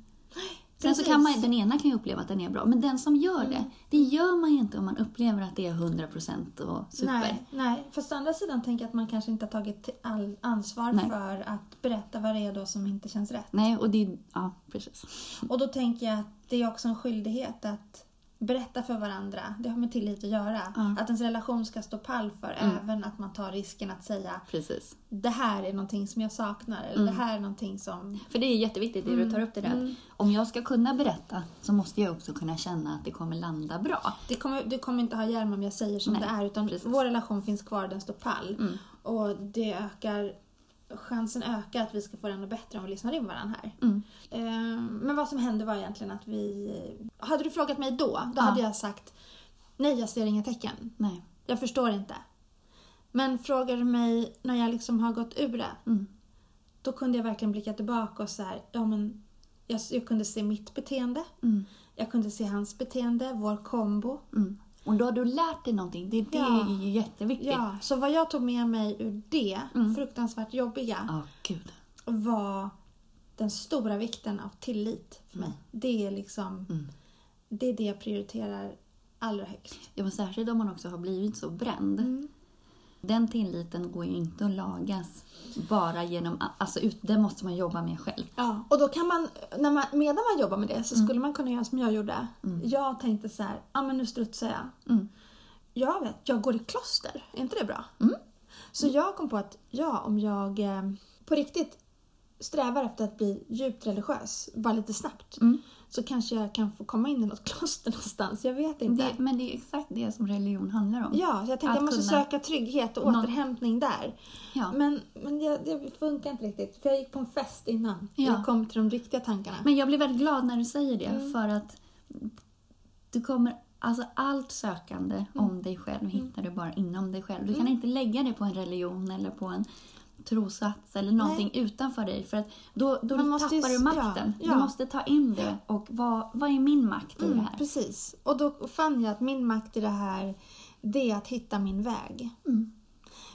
[SPEAKER 2] Sen så kan man,
[SPEAKER 1] Precis. Mm.
[SPEAKER 2] den ena kan ju uppleva att den är bra, men den som gör det, det gör man ju inte om man upplever att det är 100% och super.
[SPEAKER 1] Nej, nej, fast å andra sidan tänker jag att man kanske inte har tagit all ansvar
[SPEAKER 2] Nej.
[SPEAKER 1] för att berätta vad det är då som inte känns rätt.
[SPEAKER 2] Nej, och det är... Ja, precis.
[SPEAKER 1] Och då tänker jag att det är också en skyldighet att berätta för varandra. Det har med tillit att göra.
[SPEAKER 2] Ja. Mm.
[SPEAKER 1] Att ens relation ska stå pall för även att man tar risken att säga
[SPEAKER 2] precis.
[SPEAKER 1] det här är någonting som jag saknar eller
[SPEAKER 2] Mm.
[SPEAKER 1] det här är någonting som...
[SPEAKER 2] För det är jätteviktigt det du tar upp det där. att Om jag ska kunna berätta så måste jag också kunna känna att det kommer landa bra.
[SPEAKER 1] Det kommer, du kommer inte ha hjälm om jag säger som
[SPEAKER 2] Nej,
[SPEAKER 1] det är utan
[SPEAKER 2] precis. Mm.
[SPEAKER 1] vår relation finns kvar, den står pall. Och det ökar, chansen ökar att vi ska få den att bättre om vi lyssnar in varandra här.
[SPEAKER 2] Mm.
[SPEAKER 1] Eh, Men vad som hände var egentligen att vi... Hade du frågat mig då, då
[SPEAKER 2] Ja.
[SPEAKER 1] hade jag sagt nej, jag ser inga tecken.
[SPEAKER 2] Nej.
[SPEAKER 1] Jag förstår inte. Men frågar du mig när jag liksom har gått ur det,
[SPEAKER 2] Mm.
[SPEAKER 1] då kunde jag verkligen blicka tillbaka och så här, ja men jag, jag kunde se mitt beteende,
[SPEAKER 2] Mm.
[SPEAKER 1] jag kunde se hans beteende, vår kombo.
[SPEAKER 2] Mm. Och då har du lärt dig någonting. Det, det
[SPEAKER 1] Ja.
[SPEAKER 2] är ju jätteviktigt. Ja. Mm.
[SPEAKER 1] Ja, så vad jag tog med mig ur det fruktansvärt jobbiga
[SPEAKER 2] gud.
[SPEAKER 1] var den stora vikten av tillit för
[SPEAKER 2] Mm.
[SPEAKER 1] mig. Det är liksom, det är det jag prioriterar allra högst.
[SPEAKER 2] Ja, men särskilt om man också har blivit så bränd. Den tilliten går ju inte att lagas bara genom... Alltså, ut, det måste man jobba med själv.
[SPEAKER 1] Ja, och då kan man, när man, medan man jobbar med det
[SPEAKER 2] Mm.
[SPEAKER 1] så skulle man kunna göra som jag gjorde. Jag tänkte så här, ja men nu strutsar jag.
[SPEAKER 2] Mm.
[SPEAKER 1] Jag vet, jag går i kloster, är inte det bra?
[SPEAKER 2] Mm.
[SPEAKER 1] Så jag kom på att ja, om jag eh, på riktigt strävar efter att bli djupt religiös, bara lite snabbt,
[SPEAKER 2] Mm.
[SPEAKER 1] så kanske jag kan få komma in i något [laughs] kloster någonstans, jag vet inte.
[SPEAKER 2] Det, men det är ju exakt det som religion handlar om.
[SPEAKER 1] Ja, jag tänkte
[SPEAKER 2] Att
[SPEAKER 1] jag måste
[SPEAKER 2] kunna-
[SPEAKER 1] söka trygghet och
[SPEAKER 2] Någon-
[SPEAKER 1] återhämtning där.
[SPEAKER 2] Ja.
[SPEAKER 1] Men, men jag, det funkar inte riktigt, för jag gick på en fest innan.
[SPEAKER 2] Ja.
[SPEAKER 1] Jag kom till de riktiga tankarna.
[SPEAKER 2] Men jag blir väldigt glad när du säger det
[SPEAKER 1] Mm.
[SPEAKER 2] för att du kommer, alltså allt sökande
[SPEAKER 1] Mm.
[SPEAKER 2] om dig själv hittar du bara inom dig själv. Du kan inte lägga det på en religion eller på en trossats eller någonting utanför dig för att då, då
[SPEAKER 1] Man måste ju-
[SPEAKER 2] tappar du makten.
[SPEAKER 1] ja, ja.
[SPEAKER 2] Du måste ta in det och vad, vad är min makt i det
[SPEAKER 1] Mm,
[SPEAKER 2] här?
[SPEAKER 1] precis. Och då fann jag att min makt i det här, det är att hitta min väg.
[SPEAKER 2] Mm.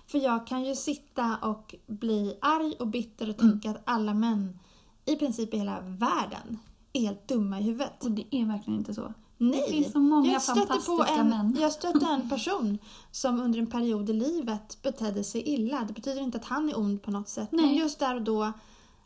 [SPEAKER 1] För jag kan ju sitta och bli arg och bitter
[SPEAKER 2] Mm.
[SPEAKER 1] och tänka att alla män i princip i hela världen är helt dumma i huvudet.
[SPEAKER 2] Och det är verkligen inte så.
[SPEAKER 1] Nej,
[SPEAKER 2] Det finns så många
[SPEAKER 1] jag stötte
[SPEAKER 2] fantastiska
[SPEAKER 1] på en,
[SPEAKER 2] män.
[SPEAKER 1] Jag stötte en person som under en period i livet betedde sig illa. Det betyder inte att han är ond på något sätt, men
[SPEAKER 2] Nej.
[SPEAKER 1] just där och då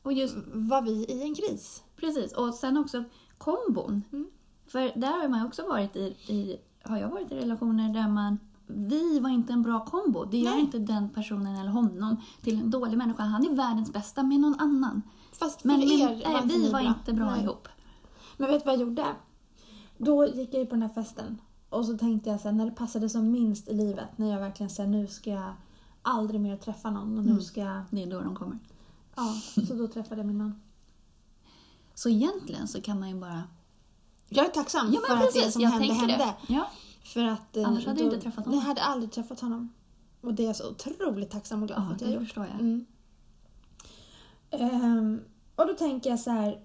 [SPEAKER 2] Och just
[SPEAKER 1] var vi i en kris.
[SPEAKER 2] Precis, och sen också kombon.
[SPEAKER 1] Mm.
[SPEAKER 2] För där har man ju också varit i, i, har jag varit i relationer där man, vi var inte en bra kombo. Det gör
[SPEAKER 1] Nej.
[SPEAKER 2] inte den personen eller honom till en dålig människa. Han är världens bästa med någon annan.
[SPEAKER 1] Fast
[SPEAKER 2] Men,
[SPEAKER 1] för
[SPEAKER 2] men
[SPEAKER 1] er
[SPEAKER 2] nej,
[SPEAKER 1] inte
[SPEAKER 2] vi
[SPEAKER 1] ni
[SPEAKER 2] var inte bra
[SPEAKER 1] Nej.
[SPEAKER 2] ihop.
[SPEAKER 1] Men vet du vad jag gjorde? Då gick jag ju på den här festen och så tänkte jag så här, när det passade som minst i livet, när jag verkligen sa nu ska jag aldrig mer träffa någon och nu ska jag...
[SPEAKER 2] Det är då de kommer.
[SPEAKER 1] Ja, så då träffade jag min man.
[SPEAKER 2] Så egentligen så kan man ju bara...
[SPEAKER 1] Jag är tacksam
[SPEAKER 2] Ja
[SPEAKER 1] för
[SPEAKER 2] men precis,
[SPEAKER 1] att det som
[SPEAKER 2] jag
[SPEAKER 1] hände
[SPEAKER 2] tänker
[SPEAKER 1] hände.
[SPEAKER 2] det. Ja.
[SPEAKER 1] För att, eh,
[SPEAKER 2] Annars hade jag inte träffat honom.
[SPEAKER 1] Jag hade aldrig träffat honom. Och det är jag så otroligt tacksam och glad för
[SPEAKER 2] ja,
[SPEAKER 1] att jag
[SPEAKER 2] det
[SPEAKER 1] gjort.
[SPEAKER 2] förstår jag.
[SPEAKER 1] Mm. Ehm, och då tänker jag så här.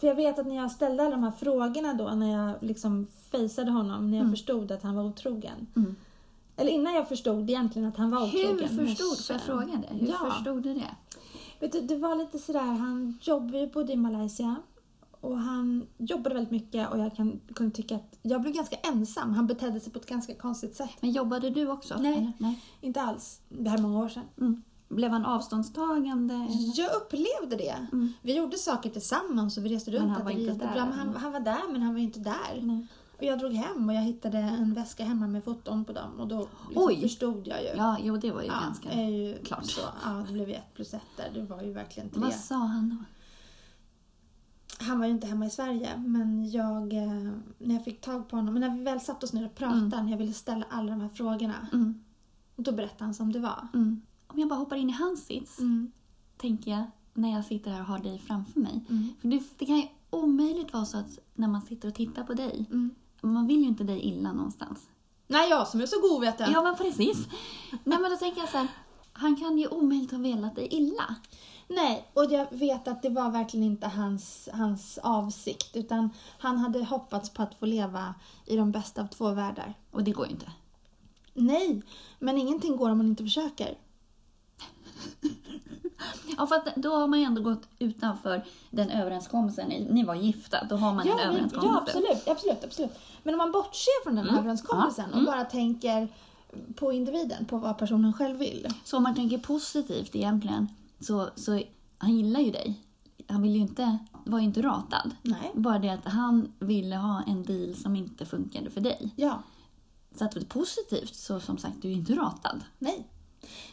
[SPEAKER 1] För jag vet att när jag ställde alla de här frågorna då, när jag liksom fejsade honom, när jag förstod att han var otrogen.
[SPEAKER 2] Mm.
[SPEAKER 1] Eller innan jag förstod egentligen att han var otrogen.
[SPEAKER 2] Hur förstod, får jag
[SPEAKER 1] sen-
[SPEAKER 2] fråga dig, hur
[SPEAKER 1] Ja.
[SPEAKER 2] förstod du det?
[SPEAKER 1] Vet du, det var lite sådär, han jobbade ju både i Malaysia och han jobbade väldigt mycket och jag kan, kunde tycka att jag blev ganska ensam. Han betedde sig på ett ganska konstigt sätt.
[SPEAKER 2] Men jobbade du också?
[SPEAKER 1] Nej.
[SPEAKER 2] Eller? Nej.
[SPEAKER 1] Inte alls. Det här är många år sedan.
[SPEAKER 2] Mm. Blev han avståndstagande? eller?
[SPEAKER 1] Jag upplevde det. Vi gjorde saker tillsammans och vi reste runt.
[SPEAKER 2] han
[SPEAKER 1] att
[SPEAKER 2] var
[SPEAKER 1] det
[SPEAKER 2] inte
[SPEAKER 1] jättebra,
[SPEAKER 2] där.
[SPEAKER 1] Men han, han var där men han var ju inte där.
[SPEAKER 2] Nej.
[SPEAKER 1] Och jag drog hem och jag hittade en väska hemma med foton på dem och då liksom
[SPEAKER 2] Oj!
[SPEAKER 1] förstod jag ju.
[SPEAKER 2] Ja, jo det var ju
[SPEAKER 1] Ja, eh,
[SPEAKER 2] ganska...
[SPEAKER 1] är ju
[SPEAKER 2] klart.
[SPEAKER 1] Så, ja, det blev ju ett plus ett där. Det var ju verkligen tre.
[SPEAKER 2] Vad sa han då?
[SPEAKER 1] Han var ju inte hemma i Sverige men jag, eh, när jag fick tag på honom, men när vi väl satt oss ner och pratade, när jag ville ställa alla de här frågorna,
[SPEAKER 2] Mm.
[SPEAKER 1] då berättade han som det var.
[SPEAKER 2] Om jag bara hoppar in i hans sits, tänker jag, när jag sitter här och har dig framför mig.
[SPEAKER 1] Mm.
[SPEAKER 2] För det, det kan ju omöjligt vara så att när man sitter och tittar på dig, man vill ju inte dig illa någonstans.
[SPEAKER 1] Mm. Nej, jag som är så god vet jag.
[SPEAKER 2] Ja, men precis. Nej, men då tänker jag så här, han kan ju omöjligt ha velat dig illa.
[SPEAKER 1] Nej, och jag vet att det var verkligen inte hans, hans avsikt. Utan han hade hoppats på att få leva i de bästa av två världar.
[SPEAKER 2] Och det går ju inte.
[SPEAKER 1] Nej, men ingenting går om man inte försöker.
[SPEAKER 2] Ja, för att då har man ju ändå gått utanför den överenskommelsen. Ni ni var gifta, då har man en
[SPEAKER 1] men-
[SPEAKER 2] överenskommelse. Mm.
[SPEAKER 1] Ja, absolut, absolut, absolut. Men om man bortser från den överenskommelsen och bara tänker på individen, på vad personen själv vill.
[SPEAKER 2] Så om man tänker positivt egentligen, så, så han gillar ju dig. Han vill ju inte, var ju inte ratad.
[SPEAKER 1] Nej.
[SPEAKER 2] Bara det att han ville ha en deal som inte funkade för dig.
[SPEAKER 1] Ja,
[SPEAKER 2] Så att det är positivt, så som sagt, du är ju inte ratad.
[SPEAKER 1] nej.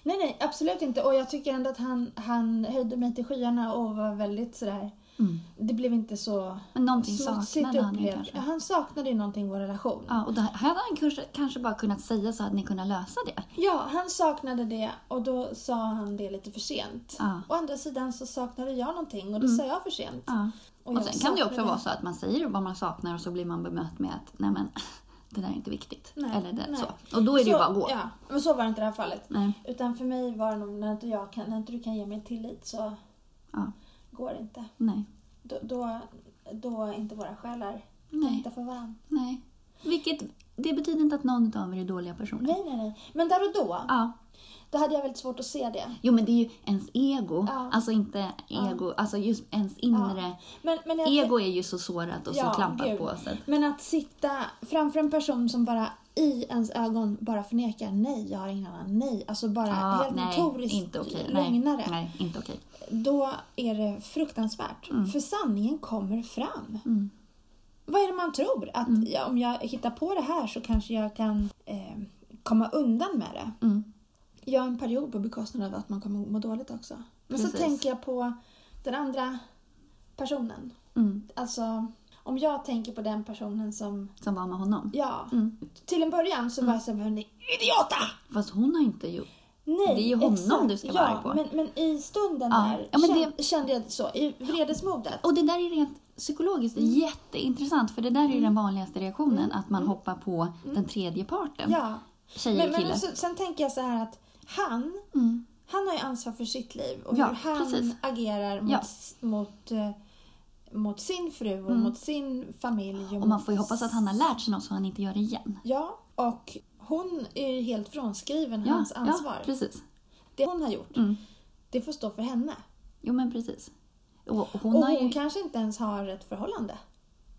[SPEAKER 1] Nej, nej, absolut inte. Och jag tycker ändå att han, han höjde mig till skyarna och var väldigt sådär...
[SPEAKER 2] Mm.
[SPEAKER 1] Det blev inte så
[SPEAKER 2] Men någonting
[SPEAKER 1] smutsigt
[SPEAKER 2] saknade han ju
[SPEAKER 1] upplevt. Ja,
[SPEAKER 2] kanske.
[SPEAKER 1] han saknade ju någonting i vår relation.
[SPEAKER 2] Ja, och det här hade han kanske, kanske bara kunnat säga så hade ni kunnat lösa det.
[SPEAKER 1] Ja, han saknade det och då sa han det lite för sent.
[SPEAKER 2] Ja. Mm.
[SPEAKER 1] Å andra sidan så saknade jag någonting och då sa jag för sent.
[SPEAKER 2] Ja.
[SPEAKER 1] Och
[SPEAKER 2] Och
[SPEAKER 1] jag
[SPEAKER 2] sen kan det ju också
[SPEAKER 1] saknade-
[SPEAKER 2] vara så att man säger vad man saknar och så blir man bemött med att nej men, [laughs] det där är inte viktigt.
[SPEAKER 1] Nej,
[SPEAKER 2] Eller det,
[SPEAKER 1] nej.
[SPEAKER 2] så. Och då är det ju bara att gå.
[SPEAKER 1] Ja, men så var det inte i det här fallet.
[SPEAKER 2] Nej.
[SPEAKER 1] Utan för mig var det nog när inte, jag kan, när inte du kan ge mig tillit så
[SPEAKER 2] Ja.
[SPEAKER 1] går det inte.
[SPEAKER 2] Nej.
[SPEAKER 1] Då, då, då är inte våra själar
[SPEAKER 2] Nej.
[SPEAKER 1] tänkta för varandra.
[SPEAKER 2] Nej. Vilket, det betyder inte att någon av er är dåliga personer.
[SPEAKER 1] Nej, nej, nej. Men där och då,
[SPEAKER 2] Ja.
[SPEAKER 1] då hade jag väldigt svårt att se det.
[SPEAKER 2] Jo men det är ju ens ego.
[SPEAKER 1] Ja.
[SPEAKER 2] Alltså inte
[SPEAKER 1] Ja.
[SPEAKER 2] ego, alltså just ens inre.
[SPEAKER 1] Men, men jag,
[SPEAKER 2] Ego är ju så sårat och
[SPEAKER 1] Ja,
[SPEAKER 2] så klampat
[SPEAKER 1] gud.
[SPEAKER 2] på. Så att,
[SPEAKER 1] Men att sitta framför en person som bara i ens ögon bara förnekar nej, jag har ingen annan, nej. Alltså bara
[SPEAKER 2] ja,
[SPEAKER 1] helt
[SPEAKER 2] nej,
[SPEAKER 1] notoriskt
[SPEAKER 2] inte okej. Nej,
[SPEAKER 1] lögnare.
[SPEAKER 2] nej, inte okej.
[SPEAKER 1] Då är det fruktansvärt. För sanningen kommer fram.
[SPEAKER 2] Mm.
[SPEAKER 1] Vad är det man tror? Att ja, om jag hittar på det här så kanske jag kan eh, komma undan med det.
[SPEAKER 2] Mm.
[SPEAKER 1] Jag har en period på bekostnad av att man kommer må dåligt också. Men så
[SPEAKER 2] Precis.
[SPEAKER 1] tänker jag på den andra personen.
[SPEAKER 2] Mm.
[SPEAKER 1] Alltså, om jag tänker på den personen som...
[SPEAKER 2] Som var med honom.
[SPEAKER 1] Ja.
[SPEAKER 2] Mm.
[SPEAKER 1] Till en början så var jag såhär, "Ni idiota!
[SPEAKER 2] Fast hon har inte gjort...
[SPEAKER 1] Nej,
[SPEAKER 2] Det är ju honom
[SPEAKER 1] exakt.
[SPEAKER 2] du ska
[SPEAKER 1] ja,
[SPEAKER 2] vara arg på.
[SPEAKER 1] Men, men i stunden
[SPEAKER 2] Ja.
[SPEAKER 1] där
[SPEAKER 2] Ja, men
[SPEAKER 1] kän- kände jag så, i vredesmodet.
[SPEAKER 2] Och det där är rent psykologiskt
[SPEAKER 1] Mm.
[SPEAKER 2] jätteintressant för det där är ju den vanligaste reaktionen, att man hoppar på den tredje parten.
[SPEAKER 1] Mm. Ja.
[SPEAKER 2] Tjejer
[SPEAKER 1] Men,
[SPEAKER 2] och
[SPEAKER 1] men
[SPEAKER 2] killar.
[SPEAKER 1] alltså, sen tänker jag så här att han,
[SPEAKER 2] Mm.
[SPEAKER 1] han har ju ansvar för sitt liv och
[SPEAKER 2] Ja,
[SPEAKER 1] hur han
[SPEAKER 2] precis.
[SPEAKER 1] agerar mot,
[SPEAKER 2] Ja.
[SPEAKER 1] s- mot, eh, mot sin fru och mot sin familj.
[SPEAKER 2] Mm. Och man
[SPEAKER 1] mot
[SPEAKER 2] får ju hoppas att han har lärt sig något så han inte gör det igen.
[SPEAKER 1] Ja, och hon är ju helt frånskriven
[SPEAKER 2] Ja,
[SPEAKER 1] hans ansvar.
[SPEAKER 2] ja precis.
[SPEAKER 1] det hon har gjort,
[SPEAKER 2] Mm.
[SPEAKER 1] det får stå för henne.
[SPEAKER 2] Jo men precis. Och hon
[SPEAKER 1] och
[SPEAKER 2] har
[SPEAKER 1] hon
[SPEAKER 2] ju...
[SPEAKER 1] kanske inte ens har ett förhållande.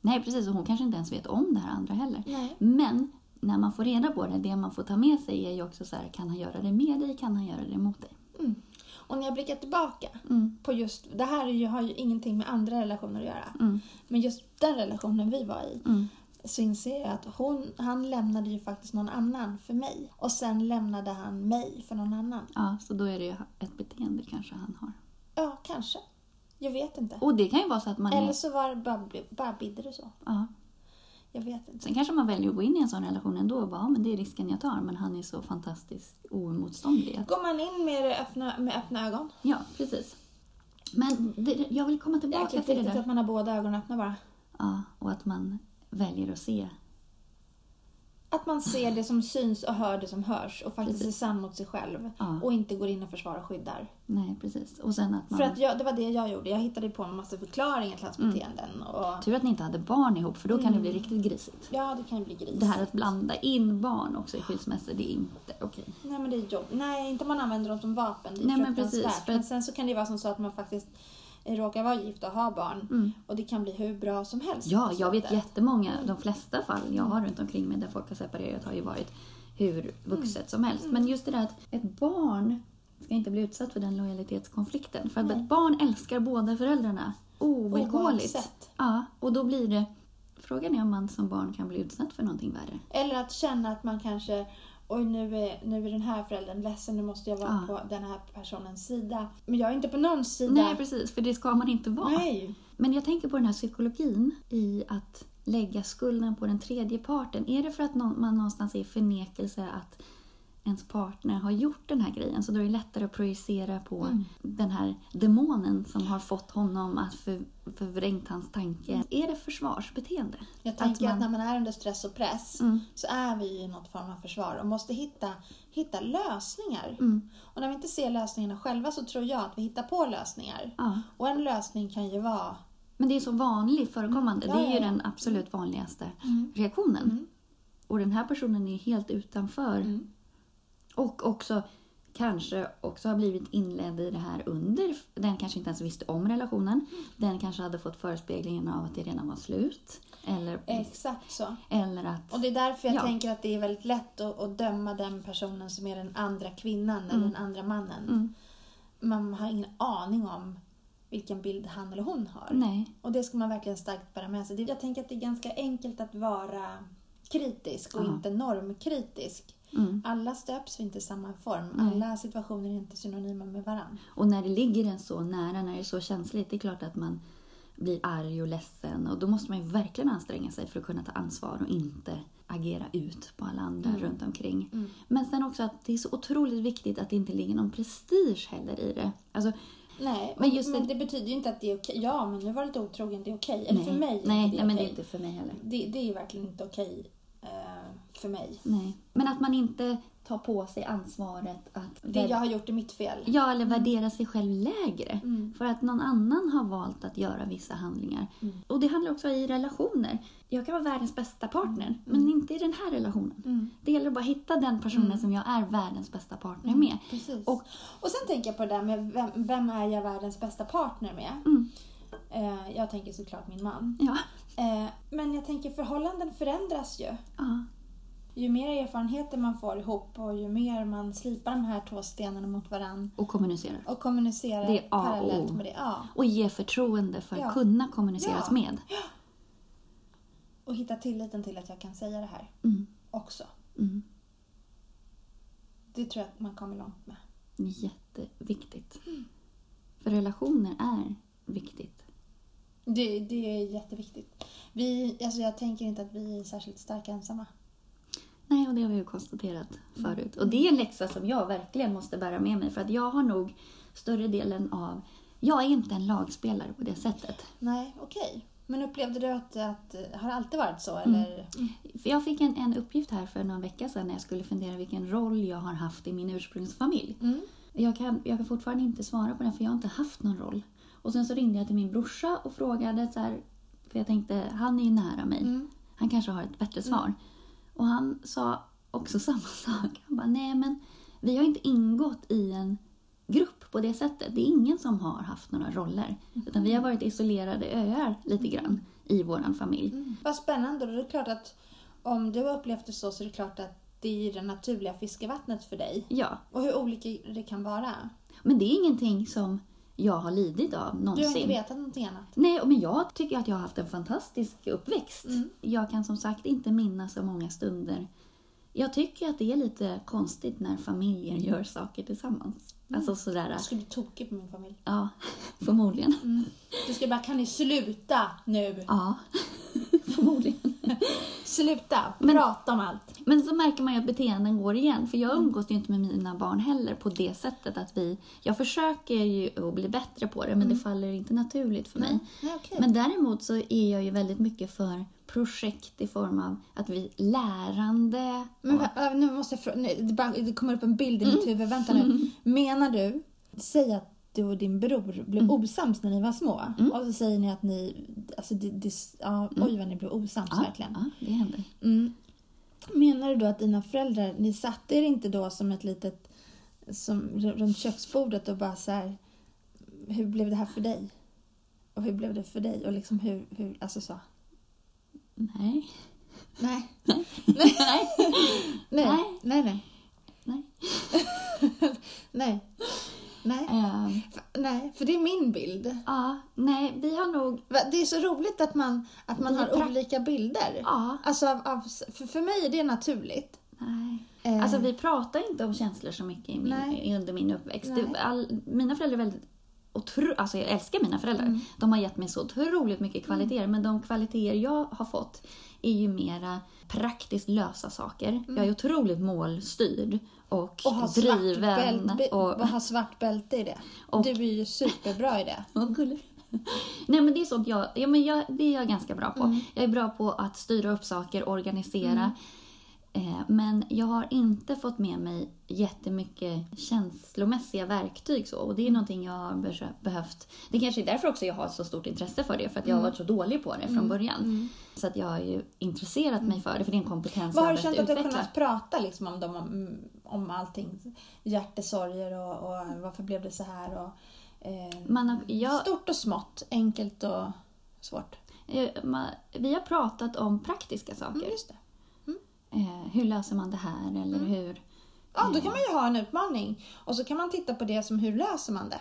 [SPEAKER 2] Nej precis, och hon kanske inte ens vet om det här andra heller.
[SPEAKER 1] Nej.
[SPEAKER 2] Men när man får reda på det, det man får ta med sig är ju också så här, kan han göra det med dig, kan han göra det mot dig?
[SPEAKER 1] Mm. Och när jag blickar tillbaka
[SPEAKER 2] Mm.
[SPEAKER 1] på just, det här är ju, har ju ingenting med andra relationer att göra,
[SPEAKER 2] Mm.
[SPEAKER 1] men just den relationen vi var i,
[SPEAKER 2] Mm.
[SPEAKER 1] så inser jag att hon, han lämnade ju faktiskt någon annan för mig. Och sen lämnade han mig för någon annan.
[SPEAKER 2] Ja, så då är det ju ett beteende kanske han har.
[SPEAKER 1] Ja, kanske. Jag vet inte.
[SPEAKER 2] Och det kan ju vara så att man
[SPEAKER 1] Eller
[SPEAKER 2] är...
[SPEAKER 1] så var det bara, bara bidder och så.
[SPEAKER 2] Ja.
[SPEAKER 1] Jag vet inte.
[SPEAKER 2] Sen kanske man väljer att gå in i en sån relation ändå och bara, ja men det är risken jag tar, men han är så fantastiskt oemotståndlig. att-
[SPEAKER 1] Går man in med, det öppna, med öppna ögon?
[SPEAKER 2] Ja, precis. Men det, jag vill komma
[SPEAKER 1] Det är
[SPEAKER 2] tillbaka
[SPEAKER 1] jäkligt
[SPEAKER 2] till det
[SPEAKER 1] viktigt
[SPEAKER 2] där.
[SPEAKER 1] att man har båda ögonen öppna bara.
[SPEAKER 2] Ja, och att man väljer att se.
[SPEAKER 1] Att man ser det som syns och hör det som hörs och faktiskt
[SPEAKER 2] Precis.
[SPEAKER 1] är sann mot sig själv.
[SPEAKER 2] Ja.
[SPEAKER 1] Och inte går in och försvarar och skyddar.
[SPEAKER 2] Nej, precis. Och sen att man...
[SPEAKER 1] För att jag, det var det jag gjorde. Jag hittade på en massa förklaringar till hans
[SPEAKER 2] Mm.
[SPEAKER 1] beteenden. Och,
[SPEAKER 2] Tur att ni inte hade barn ihop, för då kan det bli
[SPEAKER 1] Mm.
[SPEAKER 2] riktigt grisigt.
[SPEAKER 1] ja, det kan ju bli gris.
[SPEAKER 2] Det här att blanda in barn också i skilsmässor, det är inte okej.
[SPEAKER 1] Nej, men det är jobb. Nej, inte man använder dem som vapen. Det är
[SPEAKER 2] Nej, men
[SPEAKER 1] fruktansvärt.
[SPEAKER 2] precis, för-
[SPEAKER 1] Men sen så kan det vara som så att man faktiskt eh, råkar vara gift och ha barn. Och det kan bli hur bra som helst.
[SPEAKER 2] Mm. Ja,
[SPEAKER 1] på
[SPEAKER 2] jag vet
[SPEAKER 1] slutet.
[SPEAKER 2] jättemånga, de flesta fall jag har runt omkring mig där folk har separerat har ju varit hur vuxet
[SPEAKER 1] Mm.
[SPEAKER 2] som helst. Men just det där att ett barn ska inte bli utsatt för den lojalitetskonflikten. För att ett barn älskar båda föräldrarna ovillkorligt.
[SPEAKER 1] Oavsett.
[SPEAKER 2] Ja, och då blir det... Frågan är om man som barn kan bli utsatt för någonting värre.
[SPEAKER 1] Eller att känna att man kanske Oj, nu är, nu är den här föräldern ledsen, nu måste jag vara
[SPEAKER 2] Ja.
[SPEAKER 1] på den här personens sida. Men jag är inte på någons sida.
[SPEAKER 2] Nej, precis, för det ska man inte vara.
[SPEAKER 1] Nej.
[SPEAKER 2] Men jag tänker på den här psykologin i att lägga skulden på den tredje parten. Är det för att nå- man någonstans är i förnekelse att ens partner har gjort den här grejen så då är det lättare att projicera på
[SPEAKER 3] Mm.
[SPEAKER 2] den här demonen som har fått honom att för, förvrängt hans tanke. Är det försvarsbeteende?
[SPEAKER 1] Jag tänker att,
[SPEAKER 2] man-
[SPEAKER 1] när man är under stress och press
[SPEAKER 2] Mm.
[SPEAKER 1] så är vi i något form av försvar och måste hitta, hitta lösningar.
[SPEAKER 2] Mm.
[SPEAKER 1] Och när vi inte ser lösningarna själva så tror jag att vi hittar på lösningar.
[SPEAKER 2] Ja.
[SPEAKER 1] Och en lösning kan ju vara
[SPEAKER 2] Men det är så vanligt förekommande.
[SPEAKER 1] Mm. Ja,
[SPEAKER 2] det är ju
[SPEAKER 1] ja, Mm. ja.
[SPEAKER 2] den absolut vanligaste reaktionen. Och den här personen är helt utanför.
[SPEAKER 1] Mm.
[SPEAKER 2] Och också kanske också har blivit inledd i det här under. Den kanske inte ens visste om relationen.
[SPEAKER 1] Mm.
[SPEAKER 2] Den kanske hade fått förespeglingen av att det redan var slut. Eller,
[SPEAKER 1] exakt så.
[SPEAKER 2] eller att...
[SPEAKER 1] Och det är därför jag
[SPEAKER 2] Mm. Ja.
[SPEAKER 1] tänker att det är väldigt lätt att, att döma den personen som är den andra kvinnan eller den andra mannen.
[SPEAKER 2] Mm.
[SPEAKER 1] Man har ingen aning om vilken bild han eller hon har.
[SPEAKER 2] Nej.
[SPEAKER 1] Och det ska man verkligen starkt bära med sig. Det- Jag tänker att det är ganska enkelt att vara kritisk och
[SPEAKER 2] Ja.
[SPEAKER 1] inte normkritisk.
[SPEAKER 2] Mm.
[SPEAKER 1] Alla stöps vi inte i samma form.
[SPEAKER 2] Nej.
[SPEAKER 1] Alla situationer är inte synonyma med varandra.
[SPEAKER 2] Och när det ligger en så nära, när det är så känsligt, det är klart att man blir arg och ledsen. Och då måste man ju verkligen anstränga sig för att kunna ta ansvar och inte agera ut på alla andra
[SPEAKER 1] Mm.
[SPEAKER 2] runt omkring. Men sen också att det är så otroligt viktigt att det inte ligger någon prestige heller i det. Alltså,
[SPEAKER 1] Nej,
[SPEAKER 2] Men
[SPEAKER 1] men,
[SPEAKER 2] just
[SPEAKER 1] men
[SPEAKER 2] det-
[SPEAKER 1] det betyder ju inte att det är okej. Ja, men nu var det lite otrogen, det är okej. Eller för mig
[SPEAKER 2] nej,
[SPEAKER 1] är
[SPEAKER 2] nej, men det är
[SPEAKER 1] okej.
[SPEAKER 2] inte för mig heller.
[SPEAKER 1] det, det är verkligen inte okej eh, för mig.
[SPEAKER 2] Nej. Men att man inte tar på sig ansvaret att...
[SPEAKER 1] Det jag har gjort är mitt fel.
[SPEAKER 2] Ja, eller värdera sig själv lägre.
[SPEAKER 1] Mm.
[SPEAKER 2] För att någon annan har valt att göra vissa handlingar. Och det handlar också i relationer. Jag kan vara världens bästa partner, men inte i den här relationen.
[SPEAKER 1] Mm.
[SPEAKER 2] Det gäller att bara hitta den personen som jag är världens bästa partner
[SPEAKER 1] Mm.
[SPEAKER 2] med.
[SPEAKER 1] Precis.
[SPEAKER 2] Och-
[SPEAKER 1] Och, och sen tänker jag på det där med vem, vem är jag världens bästa partner med?
[SPEAKER 2] Mm.
[SPEAKER 1] Eh, jag tänker såklart min man.
[SPEAKER 2] Ja.
[SPEAKER 1] Eh, men jag tänker förhållanden förändras ju.
[SPEAKER 2] ja.
[SPEAKER 1] Ju mer erfarenheter man får ihop och ju mer man slipar de här två stenarna mot varandra
[SPEAKER 2] Och kommunicera.
[SPEAKER 1] och kommunicerar
[SPEAKER 2] Det är A och O.
[SPEAKER 1] parallellt med det. Ja.
[SPEAKER 2] Och ge förtroende för
[SPEAKER 1] Ja.
[SPEAKER 2] att kunna kommuniceras
[SPEAKER 1] Ja.
[SPEAKER 2] med.
[SPEAKER 1] Och hitta tilliten till att jag kan säga det här
[SPEAKER 2] Mm.
[SPEAKER 1] också.
[SPEAKER 2] Mm.
[SPEAKER 1] Det tror jag att man kommer långt med.
[SPEAKER 2] Jätteviktigt.
[SPEAKER 1] Mm.
[SPEAKER 2] För relationer är viktigt.
[SPEAKER 1] Det, det är jätteviktigt. Vi, alltså jag tänker inte att vi är särskilt starka ensamma.
[SPEAKER 2] Nej, och det har vi ju konstaterat förut. Och det är en läxa som jag verkligen måste bära med mig för att jag har nog större delen av... Jag är inte en lagspelare på det sättet.
[SPEAKER 1] Nej, okej. Men upplevde du att, att har det alltid varit så?
[SPEAKER 2] Mm.
[SPEAKER 1] Eller?
[SPEAKER 2] För jag fick en, en uppgift här för någon vecka sedan när jag skulle fundera vilken roll jag har haft i min ursprungsfamilj.
[SPEAKER 1] Mm.
[SPEAKER 2] Jag kan, jag kan fortfarande inte svara på den för jag har inte haft någon roll. Och sen så ringde jag till min brorsa och frågade så här, för jag tänkte han är ju nära mig.
[SPEAKER 1] Mm.
[SPEAKER 2] Han kanske har ett bättre svar. Och han sa också [laughs] samma sak. Han bara, nej men vi har inte ingått i en grupp på det sättet. Det är ingen som har haft några roller.
[SPEAKER 1] Mm.
[SPEAKER 2] Utan vi har varit isolerade öar lite grann i vår familj.
[SPEAKER 1] mm. Vad spännande. Och det är klart att om du har upplevt det så så är det klart att det är det naturliga fiskevattnet för dig.
[SPEAKER 2] Ja,
[SPEAKER 1] Och hur olika det kan vara.
[SPEAKER 2] men det är ingenting som jag har lidit av
[SPEAKER 1] Du har
[SPEAKER 2] någonsin.
[SPEAKER 1] inte vetat någonting annat.
[SPEAKER 2] Nej, men jag tycker att jag har haft en fantastisk uppväxt.
[SPEAKER 1] Mm.
[SPEAKER 2] Jag kan som sagt inte minnas så många stunder. Jag tycker att det är lite konstigt när familjer gör saker tillsammans.
[SPEAKER 1] Mm.
[SPEAKER 2] Alltså sådär...
[SPEAKER 1] Jag skulle bli tokig på min familj. Mm.
[SPEAKER 2] Ja, förmodligen.
[SPEAKER 1] Du skulle bara, kan ni sluta nu?
[SPEAKER 2] Ja, [laughs] förmodligen.
[SPEAKER 1] Sluta prata om allt.
[SPEAKER 2] Men så märker man ju att beteenden går igen. För jag umgås ju inte med mina barn heller på det sättet att vi... Jag försöker ju att bli bättre på det, men det faller inte naturligt för mig.
[SPEAKER 1] Mm. Nej, okej.
[SPEAKER 2] Men däremot så är jag ju väldigt mycket för projekt i form av att vi lärande...
[SPEAKER 1] Men va- va, nu måste jag fråga, nu, det, bara, det kommer upp en bild i
[SPEAKER 2] Mm.
[SPEAKER 1] mitt huvud. Vänta nu. Menar du, säg att du och din bror blev
[SPEAKER 2] Mm.
[SPEAKER 1] osams när ni var små. Och så säger ni att ni, alltså det, det, ja, oj vad ni blev osams
[SPEAKER 2] Mm. Ja,
[SPEAKER 1] verkligen.
[SPEAKER 2] ja, det händer.
[SPEAKER 1] Mm. Menar du då att dina föräldrar, ni satte er inte då som ett litet, som, r- runt köksbordet och bara så här, hur blev det här för dig? Och hur blev det för dig? Och liksom hur, hur alltså så.
[SPEAKER 2] Nej.
[SPEAKER 1] Nej.
[SPEAKER 2] [laughs]
[SPEAKER 1] [laughs]
[SPEAKER 2] Nej.
[SPEAKER 1] Nej.
[SPEAKER 2] Nej.
[SPEAKER 1] Nej, nej.
[SPEAKER 2] Nej.
[SPEAKER 1] [laughs] Nej. Nej.
[SPEAKER 2] Ehm,
[SPEAKER 1] F- Nej, för det är min bild.
[SPEAKER 2] ja, nej, vi har nog...
[SPEAKER 1] Va, Det är så roligt att man, att man
[SPEAKER 2] Det är
[SPEAKER 1] har
[SPEAKER 2] prakt-
[SPEAKER 1] olika bilder.
[SPEAKER 2] Ja,
[SPEAKER 1] Alltså av, av, för, för mig är det naturligt.
[SPEAKER 2] nej.
[SPEAKER 1] Eh,
[SPEAKER 2] Alltså vi pratar inte om känslor så mycket i min,
[SPEAKER 1] Nej.
[SPEAKER 2] under min uppväxt.
[SPEAKER 1] Nej.
[SPEAKER 2] Det, all, mina föräldrar är väldigt otro, alltså jag älskar mina föräldrar.
[SPEAKER 1] Mm.
[SPEAKER 2] De har gett mig så otroligt mycket kvaliteter. Men de kvaliteter jag har fått är ju mera praktiskt lösa saker. Jag är otroligt målstyrd och,
[SPEAKER 1] Mm. Och ha svart,
[SPEAKER 2] driven.
[SPEAKER 1] bälte,
[SPEAKER 2] och,
[SPEAKER 1] och... ha svart bälte i det.
[SPEAKER 2] Och-
[SPEAKER 1] Du är ju superbra i det.
[SPEAKER 2] [laughs] Vad gulligt. Nej men det är sånt jag, ja, men jag, det är jag ganska bra på.
[SPEAKER 1] Mm.
[SPEAKER 2] Jag är bra på att styra upp saker, organisera. Eh, men jag har inte fått med mig jättemycket känslomässiga verktyg så. Och det
[SPEAKER 1] Mm.
[SPEAKER 2] är någonting jag har be- behövt. Det kanske är därför också jag har så stort intresse för det. För att jag har
[SPEAKER 1] Mm.
[SPEAKER 2] varit så dålig på det från början. Så att jag har ju intresserat mig för det. För det är en kompetens
[SPEAKER 1] Mm. Vad
[SPEAKER 2] jag
[SPEAKER 1] har du
[SPEAKER 2] behövt
[SPEAKER 1] känt att du har
[SPEAKER 2] utveckla.
[SPEAKER 1] kunnat prata liksom om, dem, om, om allting? Hjärtesorger och, och varför blev det så här? Och, eh,
[SPEAKER 2] Man har, jag,
[SPEAKER 1] Stort och smått, enkelt och svårt.
[SPEAKER 2] eh, man, vi har pratat om praktiska saker.
[SPEAKER 1] Mm, Just Mm. det.
[SPEAKER 2] Eh, hur löser man det här? Eller hur...
[SPEAKER 1] Ja, då kan man ju ha en utmaning och så kan man titta på det som hur löser man
[SPEAKER 2] Mm.
[SPEAKER 1] det?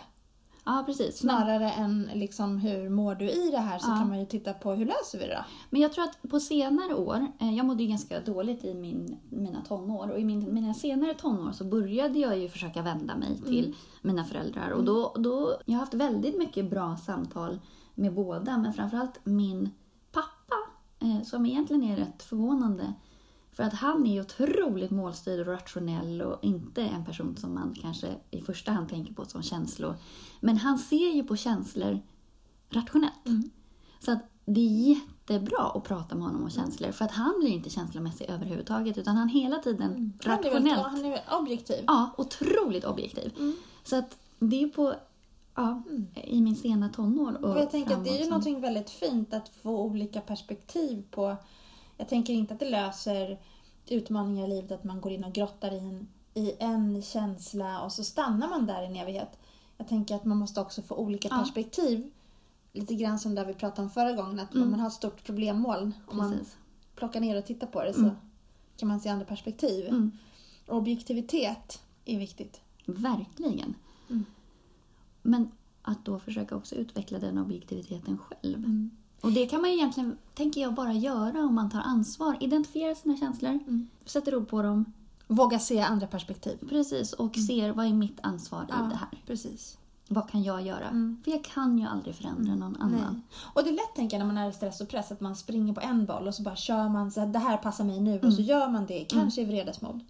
[SPEAKER 2] Ja, precis. Men,
[SPEAKER 1] Snarare än liksom hur mår du i det här så
[SPEAKER 2] Ja.
[SPEAKER 1] kan man ju titta på hur löser vi det då?
[SPEAKER 2] men jag tror att på senare år, eh, jag mådde ju ganska dåligt i min, mina tonår och i min, mina senare tonår så började jag ju försöka vända mig till mina föräldrar och då, då, jag har haft väldigt mycket bra samtal med båda men framförallt min pappa eh, som egentligen är rätt förvånande för att han är ju otroligt målstyrd och rationell och inte en person som man kanske i första hand tänker på som känslor. Men han ser ju på känslor rationellt.
[SPEAKER 1] Mm.
[SPEAKER 2] Så att det är jättebra att prata med honom om känslor för att han blir inte känslomässig överhuvudtaget utan han hela tiden
[SPEAKER 1] Mm. Han är, väl,
[SPEAKER 2] Mm. rationellt.
[SPEAKER 1] han är väl objektiv.
[SPEAKER 2] Ja, otroligt objektiv.
[SPEAKER 1] Mm.
[SPEAKER 2] Så att det är på, ja, i min sena tonår och
[SPEAKER 1] Och jag tänker att det är
[SPEAKER 2] framåt
[SPEAKER 1] ju
[SPEAKER 2] som-
[SPEAKER 1] någonting väldigt fint att få olika perspektiv på. Jag tänker inte att det löser utmaningar i livet att man går in och grottar i en, i en känsla och så stannar man där i en evighet. Jag tänker att man måste också få olika
[SPEAKER 2] Ja.
[SPEAKER 1] perspektiv. Lite grann som där vi pratade om förra gången, att om man har ett stort problemmoln, om man
[SPEAKER 2] Mm. Precis.
[SPEAKER 1] plockar ner och tittar på det så kan man se andra perspektiv.
[SPEAKER 2] Mm.
[SPEAKER 1] Objektivitet är viktigt.
[SPEAKER 2] Verkligen. Men att då försöka också utveckla den objektiviteten själv. Och det kan man ju egentligen, tänker jag, bara göra om man tar ansvar. Identifiera sina känslor, sätter ord på dem,
[SPEAKER 1] Våga se andra perspektiv.
[SPEAKER 2] precis, och ser vad är mitt ansvar i det här.
[SPEAKER 1] precis.
[SPEAKER 2] Vad kan jag göra? För jag kan ju aldrig förändra någon annan.
[SPEAKER 1] Nej. Och det är lätt tänker jag när man är i stress och press att man springer på en boll och så bara kör man så här, det här passar mig nu
[SPEAKER 2] Mm.
[SPEAKER 1] och så gör man det, kanske i vredesmod.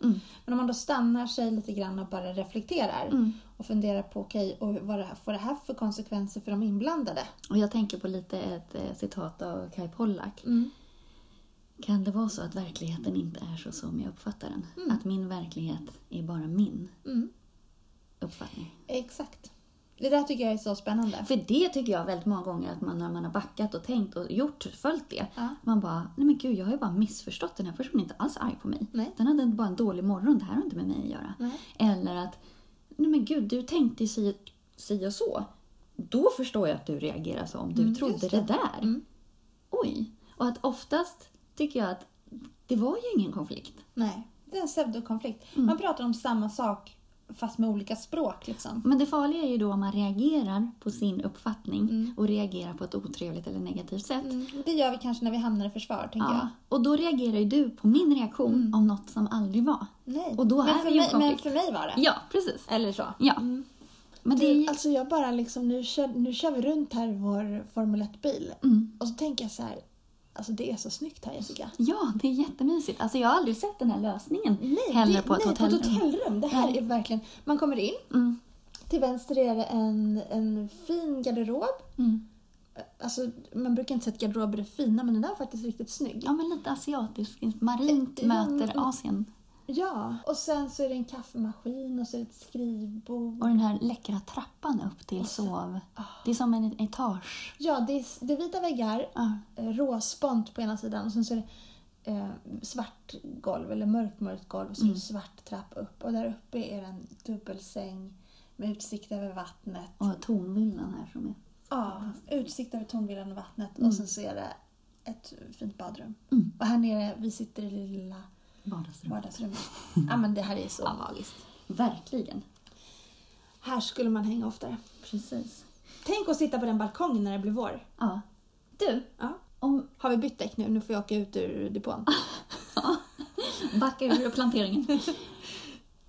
[SPEAKER 1] Men om man då stannar sig lite grann och bara reflekterar
[SPEAKER 2] Mm.
[SPEAKER 1] och funderar på okej, och vad det här, får det här för konsekvenser för de inblandade?
[SPEAKER 2] Och jag tänker på lite ett eh, citat av Kai Pollak.
[SPEAKER 1] Mm.
[SPEAKER 2] Kan det vara så att verkligheten inte är så som jag uppfattar den? Att min verklighet är bara min
[SPEAKER 1] Mm.
[SPEAKER 2] uppfattning?
[SPEAKER 1] Exakt. Det där tycker jag är så spännande.
[SPEAKER 2] För det tycker jag väldigt många gånger att man när man har backat och tänkt och gjort, följt det.
[SPEAKER 1] Ja.
[SPEAKER 2] Man bara, nej men gud jag har ju bara missförstått den här personen är inte alls arg på mig.
[SPEAKER 1] Nej.
[SPEAKER 2] Den hade bara en dålig morgon, det här har inte med mig att göra.
[SPEAKER 1] Nej.
[SPEAKER 2] Eller att, nej men gud du tänkte ju si, si och så. Då förstår jag att du reagerar så om du trodde det.
[SPEAKER 1] Mm, just det. Mm.
[SPEAKER 2] där. Oj. Och att oftast tycker jag att det var ju ingen konflikt.
[SPEAKER 1] Nej, det är en pseudokonflikt.
[SPEAKER 2] Mm.
[SPEAKER 1] Man pratar om samma sak fast med olika språk liksom.
[SPEAKER 2] Men det farliga är ju då om man reagerar på sin uppfattning och reagerar på ett otrevligt eller negativt sätt.
[SPEAKER 1] Mm. Det gör vi kanske när vi hamnar i försvar, tänker jag.
[SPEAKER 2] Ja, och då reagerar ju du på min reaktion
[SPEAKER 1] Mm.
[SPEAKER 2] om något som aldrig var.
[SPEAKER 1] Nej.
[SPEAKER 2] Och då
[SPEAKER 1] men,
[SPEAKER 2] är
[SPEAKER 1] för
[SPEAKER 2] det ju en
[SPEAKER 1] mig, men
[SPEAKER 2] konflikt.
[SPEAKER 1] för mig var det.
[SPEAKER 2] Ja, precis.
[SPEAKER 1] Eller så.
[SPEAKER 2] Ja. Men det är
[SPEAKER 1] Mm. Du,
[SPEAKER 2] ju...
[SPEAKER 1] alltså jag bara liksom, nu kör, nu kör vi runt här i vår Formel 1-bil.
[SPEAKER 2] Mm.
[SPEAKER 1] Och så tänker jag så här, alltså det är så snyggt här Jessica.
[SPEAKER 2] Ja, det är jättemysigt. Alltså jag har aldrig sett den här lösningen heller
[SPEAKER 1] det,
[SPEAKER 2] på ett
[SPEAKER 1] nej,
[SPEAKER 2] hotellrum.
[SPEAKER 1] På ett hotellrum. Det här
[SPEAKER 2] Nej.
[SPEAKER 1] är verkligen, man kommer in,
[SPEAKER 2] Mm.
[SPEAKER 1] till vänster är det en, en fin garderob.
[SPEAKER 2] Mm.
[SPEAKER 1] Alltså man brukar inte säga att garderober är fina men den där var faktiskt riktigt snygg.
[SPEAKER 2] Ja, men lite asiatiskt. Marint
[SPEAKER 1] Ja,
[SPEAKER 2] möter
[SPEAKER 1] men-
[SPEAKER 2] Asien.
[SPEAKER 1] Ja, och sen så är det en kaffemaskin och så är det ett skrivbord.
[SPEAKER 2] Och den här läckra trappan upp till
[SPEAKER 1] Alltså,
[SPEAKER 2] sov.
[SPEAKER 1] ah.
[SPEAKER 2] Det är som en etage. Ah.
[SPEAKER 1] Ja, det är, det är vita väggar,
[SPEAKER 2] Ja.
[SPEAKER 1] eh, råspont på ena sidan och sen så är det eh, svart golv eller mörkt mörkt golv och så är det svart trappa upp och där uppe är det en dubbelsäng med utsikt över vattnet.
[SPEAKER 2] Och tonvillan här som är...
[SPEAKER 1] Ja, utsikt över Tornvillan och vattnet och sen så är det ett fint badrum.
[SPEAKER 2] Mm.
[SPEAKER 1] Och här nere, vi sitter i det lilla
[SPEAKER 2] Vardagsrum.
[SPEAKER 1] [laughs] vardagsrummet. ja men det här är så magiskt.
[SPEAKER 2] Verkligen.
[SPEAKER 1] Här skulle man hänga oftare.
[SPEAKER 2] Precis.
[SPEAKER 1] Tänk att sitta på den balkongen när det blir vår.
[SPEAKER 2] Ja. Du,
[SPEAKER 1] Ja.
[SPEAKER 2] om...
[SPEAKER 1] Har vi bytt däck nu? Nu får jag åka ut ur depån.
[SPEAKER 2] Backa ur planteringen.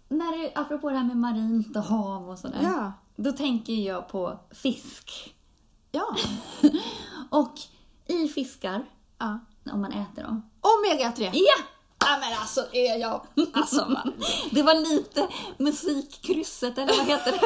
[SPEAKER 2] När du, apropå det här med marint och hav och sådär.
[SPEAKER 1] [laughs] Ja.
[SPEAKER 2] Då tänker jag på fisk.
[SPEAKER 1] Ja.
[SPEAKER 2] Och i fiskar,
[SPEAKER 1] ja.
[SPEAKER 2] om man äter dem.
[SPEAKER 1] Omega-3!
[SPEAKER 2] Ja!
[SPEAKER 1] Ja men alltså är jag... Alltså man.
[SPEAKER 2] Det var lite musikkrysset, eller vad heter det?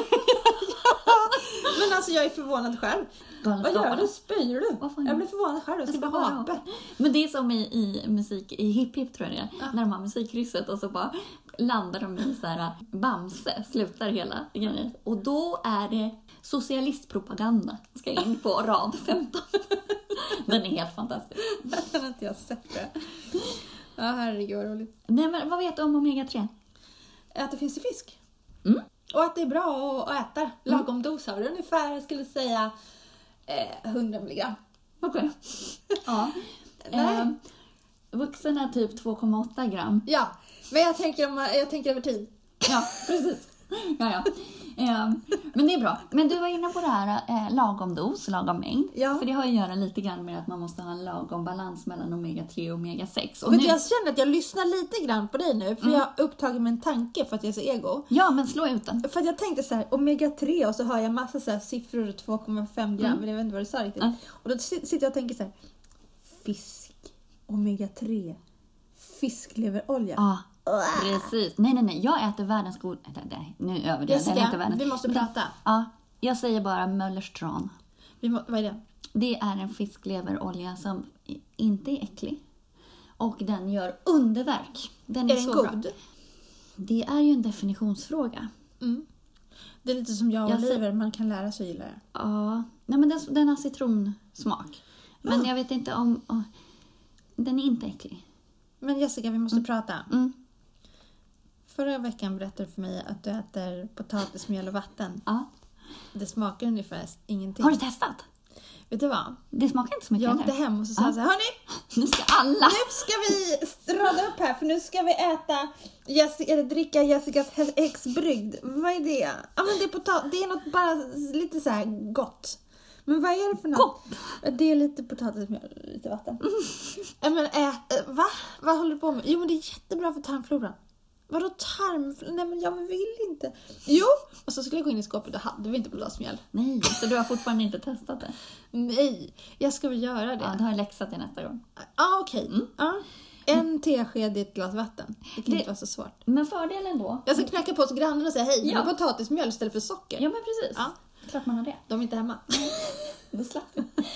[SPEAKER 1] Men alltså jag är förvånad själv. Vad gör
[SPEAKER 2] Galenskaparna.
[SPEAKER 1] du? Spyr du?
[SPEAKER 2] Vad fan?
[SPEAKER 1] Jag blev förvånad själv. Jag skulle
[SPEAKER 2] ska
[SPEAKER 1] bara
[SPEAKER 2] bara
[SPEAKER 1] hapa.
[SPEAKER 2] hapa. Men det är som i, i musik, i Hipp Hipp tror jag det är, när de har musikkrysset och så bara landar de i så här äh, Bamse, slutar hela grejen. Och då är det socialistpropaganda, ska in på rad 15. [laughs] Den är helt fantastisk.
[SPEAKER 1] [laughs] Jag har inte jag sett det. Ja herregud vad roligt.
[SPEAKER 2] Nej men vad vet du om Omega 3?
[SPEAKER 1] Att det finns i fisk.
[SPEAKER 2] Mm.
[SPEAKER 1] Och att det är bra att- att äta. Lagom dos av det. Ungefär, jag skulle säga, eh, 100 milligram.
[SPEAKER 2] Okej. [laughs] Ja.
[SPEAKER 1] Nej.
[SPEAKER 2] Eh, vuxen är typ 2,8 gram.
[SPEAKER 1] Ja, men jag tänker, om, jag tänker över tid.
[SPEAKER 2] Ja, precis. [laughs] Ja, ja. Eh, men det är bra. Men du var inne på det här eh, lagom dos, lagom mängd.
[SPEAKER 1] Ja.
[SPEAKER 2] För det har ju att göra lite grann med att man måste ha en lagom balans mellan omega 3 och omega 6. Och
[SPEAKER 1] Vet
[SPEAKER 2] nu... Mm.
[SPEAKER 1] du, jag känner att jag lyssnar lite grann på dig nu, för jag har upptagit min tanke för att jag är så ego.
[SPEAKER 2] Ja, men slå ut den.
[SPEAKER 1] För att jag tänkte så här, omega 3 och så hör jag massa så här siffror, 2,5 gram, men jag vet inte vad du sa riktigt.
[SPEAKER 2] Mm.
[SPEAKER 1] Och då sit- sitter jag och tänker så här, fisk, omega 3, fiskleverolja.
[SPEAKER 2] Ja, precis. Nej, nej, nej. Jag äter världens god... Nej, nej, nu överdriver jag. Jag äter
[SPEAKER 1] Jessica,
[SPEAKER 2] världens...
[SPEAKER 1] vi måste prata.
[SPEAKER 2] Ja, jag säger bara Möllers tran.
[SPEAKER 1] Vi må, vad är
[SPEAKER 2] Mm,
[SPEAKER 1] det?
[SPEAKER 2] Det är en fiskleverolja som i- inte är äcklig. Och den gör underverk. Den är,
[SPEAKER 1] Är den
[SPEAKER 2] så
[SPEAKER 1] god?
[SPEAKER 2] bra. Det är ju en definitionsfråga.
[SPEAKER 1] Mm. Det är lite som jag och
[SPEAKER 2] Jag
[SPEAKER 1] oliver, man kan lära sig att gilla det.
[SPEAKER 2] Ja, nej men den, den har citronsmak. Men jag vet inte om... om- den är inte äcklig.
[SPEAKER 1] Men Jessica, vi måste prata.
[SPEAKER 2] Mm.
[SPEAKER 1] Förra veckan berättade du för mig att du äter potatis, mjöl och vatten.
[SPEAKER 2] Ja.
[SPEAKER 1] Det smakar ungefär ingenting.
[SPEAKER 2] Har du testat?
[SPEAKER 1] Vet du vad?
[SPEAKER 2] Det smakar inte så mycket
[SPEAKER 1] Jag åkte
[SPEAKER 2] eller?
[SPEAKER 1] hem och så sa jag så här, hörni!
[SPEAKER 2] Nu ska alla...
[SPEAKER 1] Nu ska vi rada upp här för nu ska vi äta Jessica, eller dricka Jessicas hä- häxbrygd. Vad är det? Ja men det är potatis, det är något bara lite så här gott. Men vad är det för något? Det är lite potatismjöl och lite vatten. Ja, men ät, eh, va? Vad håller du på med? Jo men det är jättebra för tarmfloran. Vadå tarmfloran? Nej men jag vill inte. Jo! Och så skulle jag gå in i skåpet, då hade vi inte potatismjöl.
[SPEAKER 2] Nej, så du har fortfarande inte testat det?
[SPEAKER 1] Nej, jag ska väl göra det.
[SPEAKER 2] Ja,
[SPEAKER 1] Ja,
[SPEAKER 2] du har läxa till nästa gång.
[SPEAKER 1] ah, okej. Ja. En tesked i ett glas vatten. Det kan
[SPEAKER 2] Mm. Det-
[SPEAKER 1] inte vara så svårt.
[SPEAKER 2] Men fördelen då?
[SPEAKER 1] Jag ska knacka på hos grannen och säga hej,
[SPEAKER 2] Ja.
[SPEAKER 1] ja. potatismjöl istället för socker.
[SPEAKER 2] Ja, men precis.
[SPEAKER 1] Ja.
[SPEAKER 2] Klart man har det.
[SPEAKER 1] De är inte hemma.
[SPEAKER 2] Då slapp du. [laughs]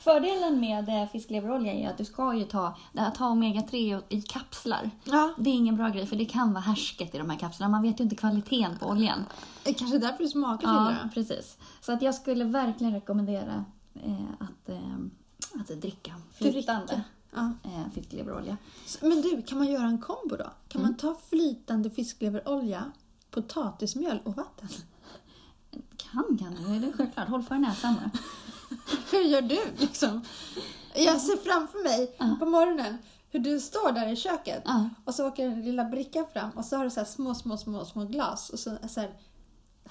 [SPEAKER 2] Fördelen med eh, fiskleverolja är att du ska ju ta, det här, ta omega-3 i kapslar.
[SPEAKER 1] [laughs] Ja.
[SPEAKER 2] Det är ingen bra grej för det kan vara härsket i de här kapslarna. Man vet ju inte kvaliteten på oljan.
[SPEAKER 1] Det är kanske därför du smakar
[SPEAKER 2] Ja,
[SPEAKER 1] till det.
[SPEAKER 2] precis. Så att jag skulle verkligen rekommendera eh, att, eh, att dricka flytande
[SPEAKER 1] Ja.
[SPEAKER 2] eh, fiskleverolja.
[SPEAKER 1] Så- Men du, kan man göra en kombo då? Kan
[SPEAKER 2] Mm.
[SPEAKER 1] man ta flytande fiskleverolja, potatismjöl och
[SPEAKER 2] [laughs]
[SPEAKER 1] vatten?
[SPEAKER 2] Kan, kan du? Det är självklart. Håll för näsan bara.
[SPEAKER 1] Hur gör du liksom? Jag ser framför mig på morgonen hur du står där i köket
[SPEAKER 2] Ja.
[SPEAKER 1] och så åker den lilla brickan fram och så har du så här små, små, små, små glas och så, så här,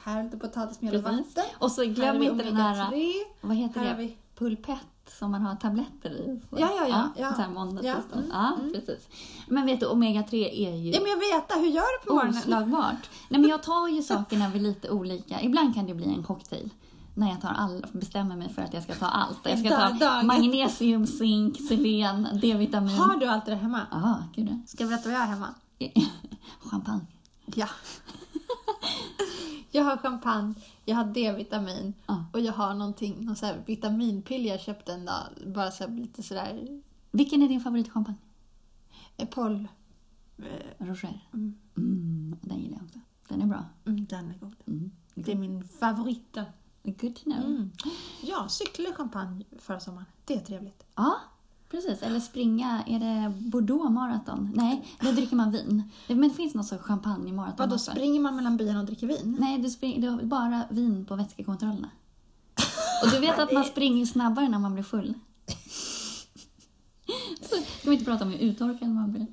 [SPEAKER 1] här är lite potatismjöl och
[SPEAKER 2] Precis.
[SPEAKER 1] vatten.
[SPEAKER 2] Och så
[SPEAKER 1] Här har
[SPEAKER 2] glöm
[SPEAKER 1] vi
[SPEAKER 2] inte den här, äh,
[SPEAKER 1] omega-3.
[SPEAKER 2] vad heter
[SPEAKER 1] Här har
[SPEAKER 2] det,
[SPEAKER 1] vi-
[SPEAKER 2] pulpett som man har tabletter i. Så-
[SPEAKER 1] Ja, ja, ja, ja.
[SPEAKER 2] Så här måndag,
[SPEAKER 1] Ja,
[SPEAKER 2] tisdag.
[SPEAKER 1] mm,
[SPEAKER 2] Ja, precis. Men vet du, omega-3 är ju
[SPEAKER 1] Ja, men jag vet det. Hur gör
[SPEAKER 2] Oh,
[SPEAKER 1] du på morgonen?
[SPEAKER 2] oslagbart. Nej, men jag tar ju sakerna vid lite olika. Ibland kan det bli en cocktail. När jag tar all, bestämmer mig för att jag ska ta allt. Jag ska
[SPEAKER 1] Dag-
[SPEAKER 2] ta
[SPEAKER 1] dag.
[SPEAKER 2] magnesium, zink, selen, D-vitamin.
[SPEAKER 1] Har du allt det där hemma?
[SPEAKER 2] Ja, gud [laughs] ja.
[SPEAKER 1] Ska jag berätta vad jag har hemma?
[SPEAKER 2] Champagne.
[SPEAKER 1] Ja. [laughs] jag har champagne, jag har D-vitamin
[SPEAKER 2] Ja.
[SPEAKER 1] och jag har någonting, någon så här vitaminpill jag köpte en dag. Bara så eh, här, lite sådär...
[SPEAKER 2] Vilken är din favoritchampagne?
[SPEAKER 1] Epol. eh,
[SPEAKER 2] Roger. Mm, den gillar jag också. Den är bra.
[SPEAKER 1] Mm, den är god.
[SPEAKER 2] Mm.
[SPEAKER 1] Det är min favorit.
[SPEAKER 2] Good to
[SPEAKER 1] Mm.
[SPEAKER 2] know.
[SPEAKER 1] Ja, cyklade champagne förra sommaren. Det är trevligt.
[SPEAKER 2] Ja, precis. Eller springa. Är det Bordeaux maraton? Nej, då dricker man vin. Men det finns något sorts champagne i maraton
[SPEAKER 1] Vadå,
[SPEAKER 2] också.
[SPEAKER 1] springer man mellan byarna och dricker vin?
[SPEAKER 2] Nej, du, spring, du har bara vin på [laughs] vätskekontrollerna. Och du vet att man springer snabbare när man blir [laughs] full. Så, ska vi inte prata om hur uttorkad man blir?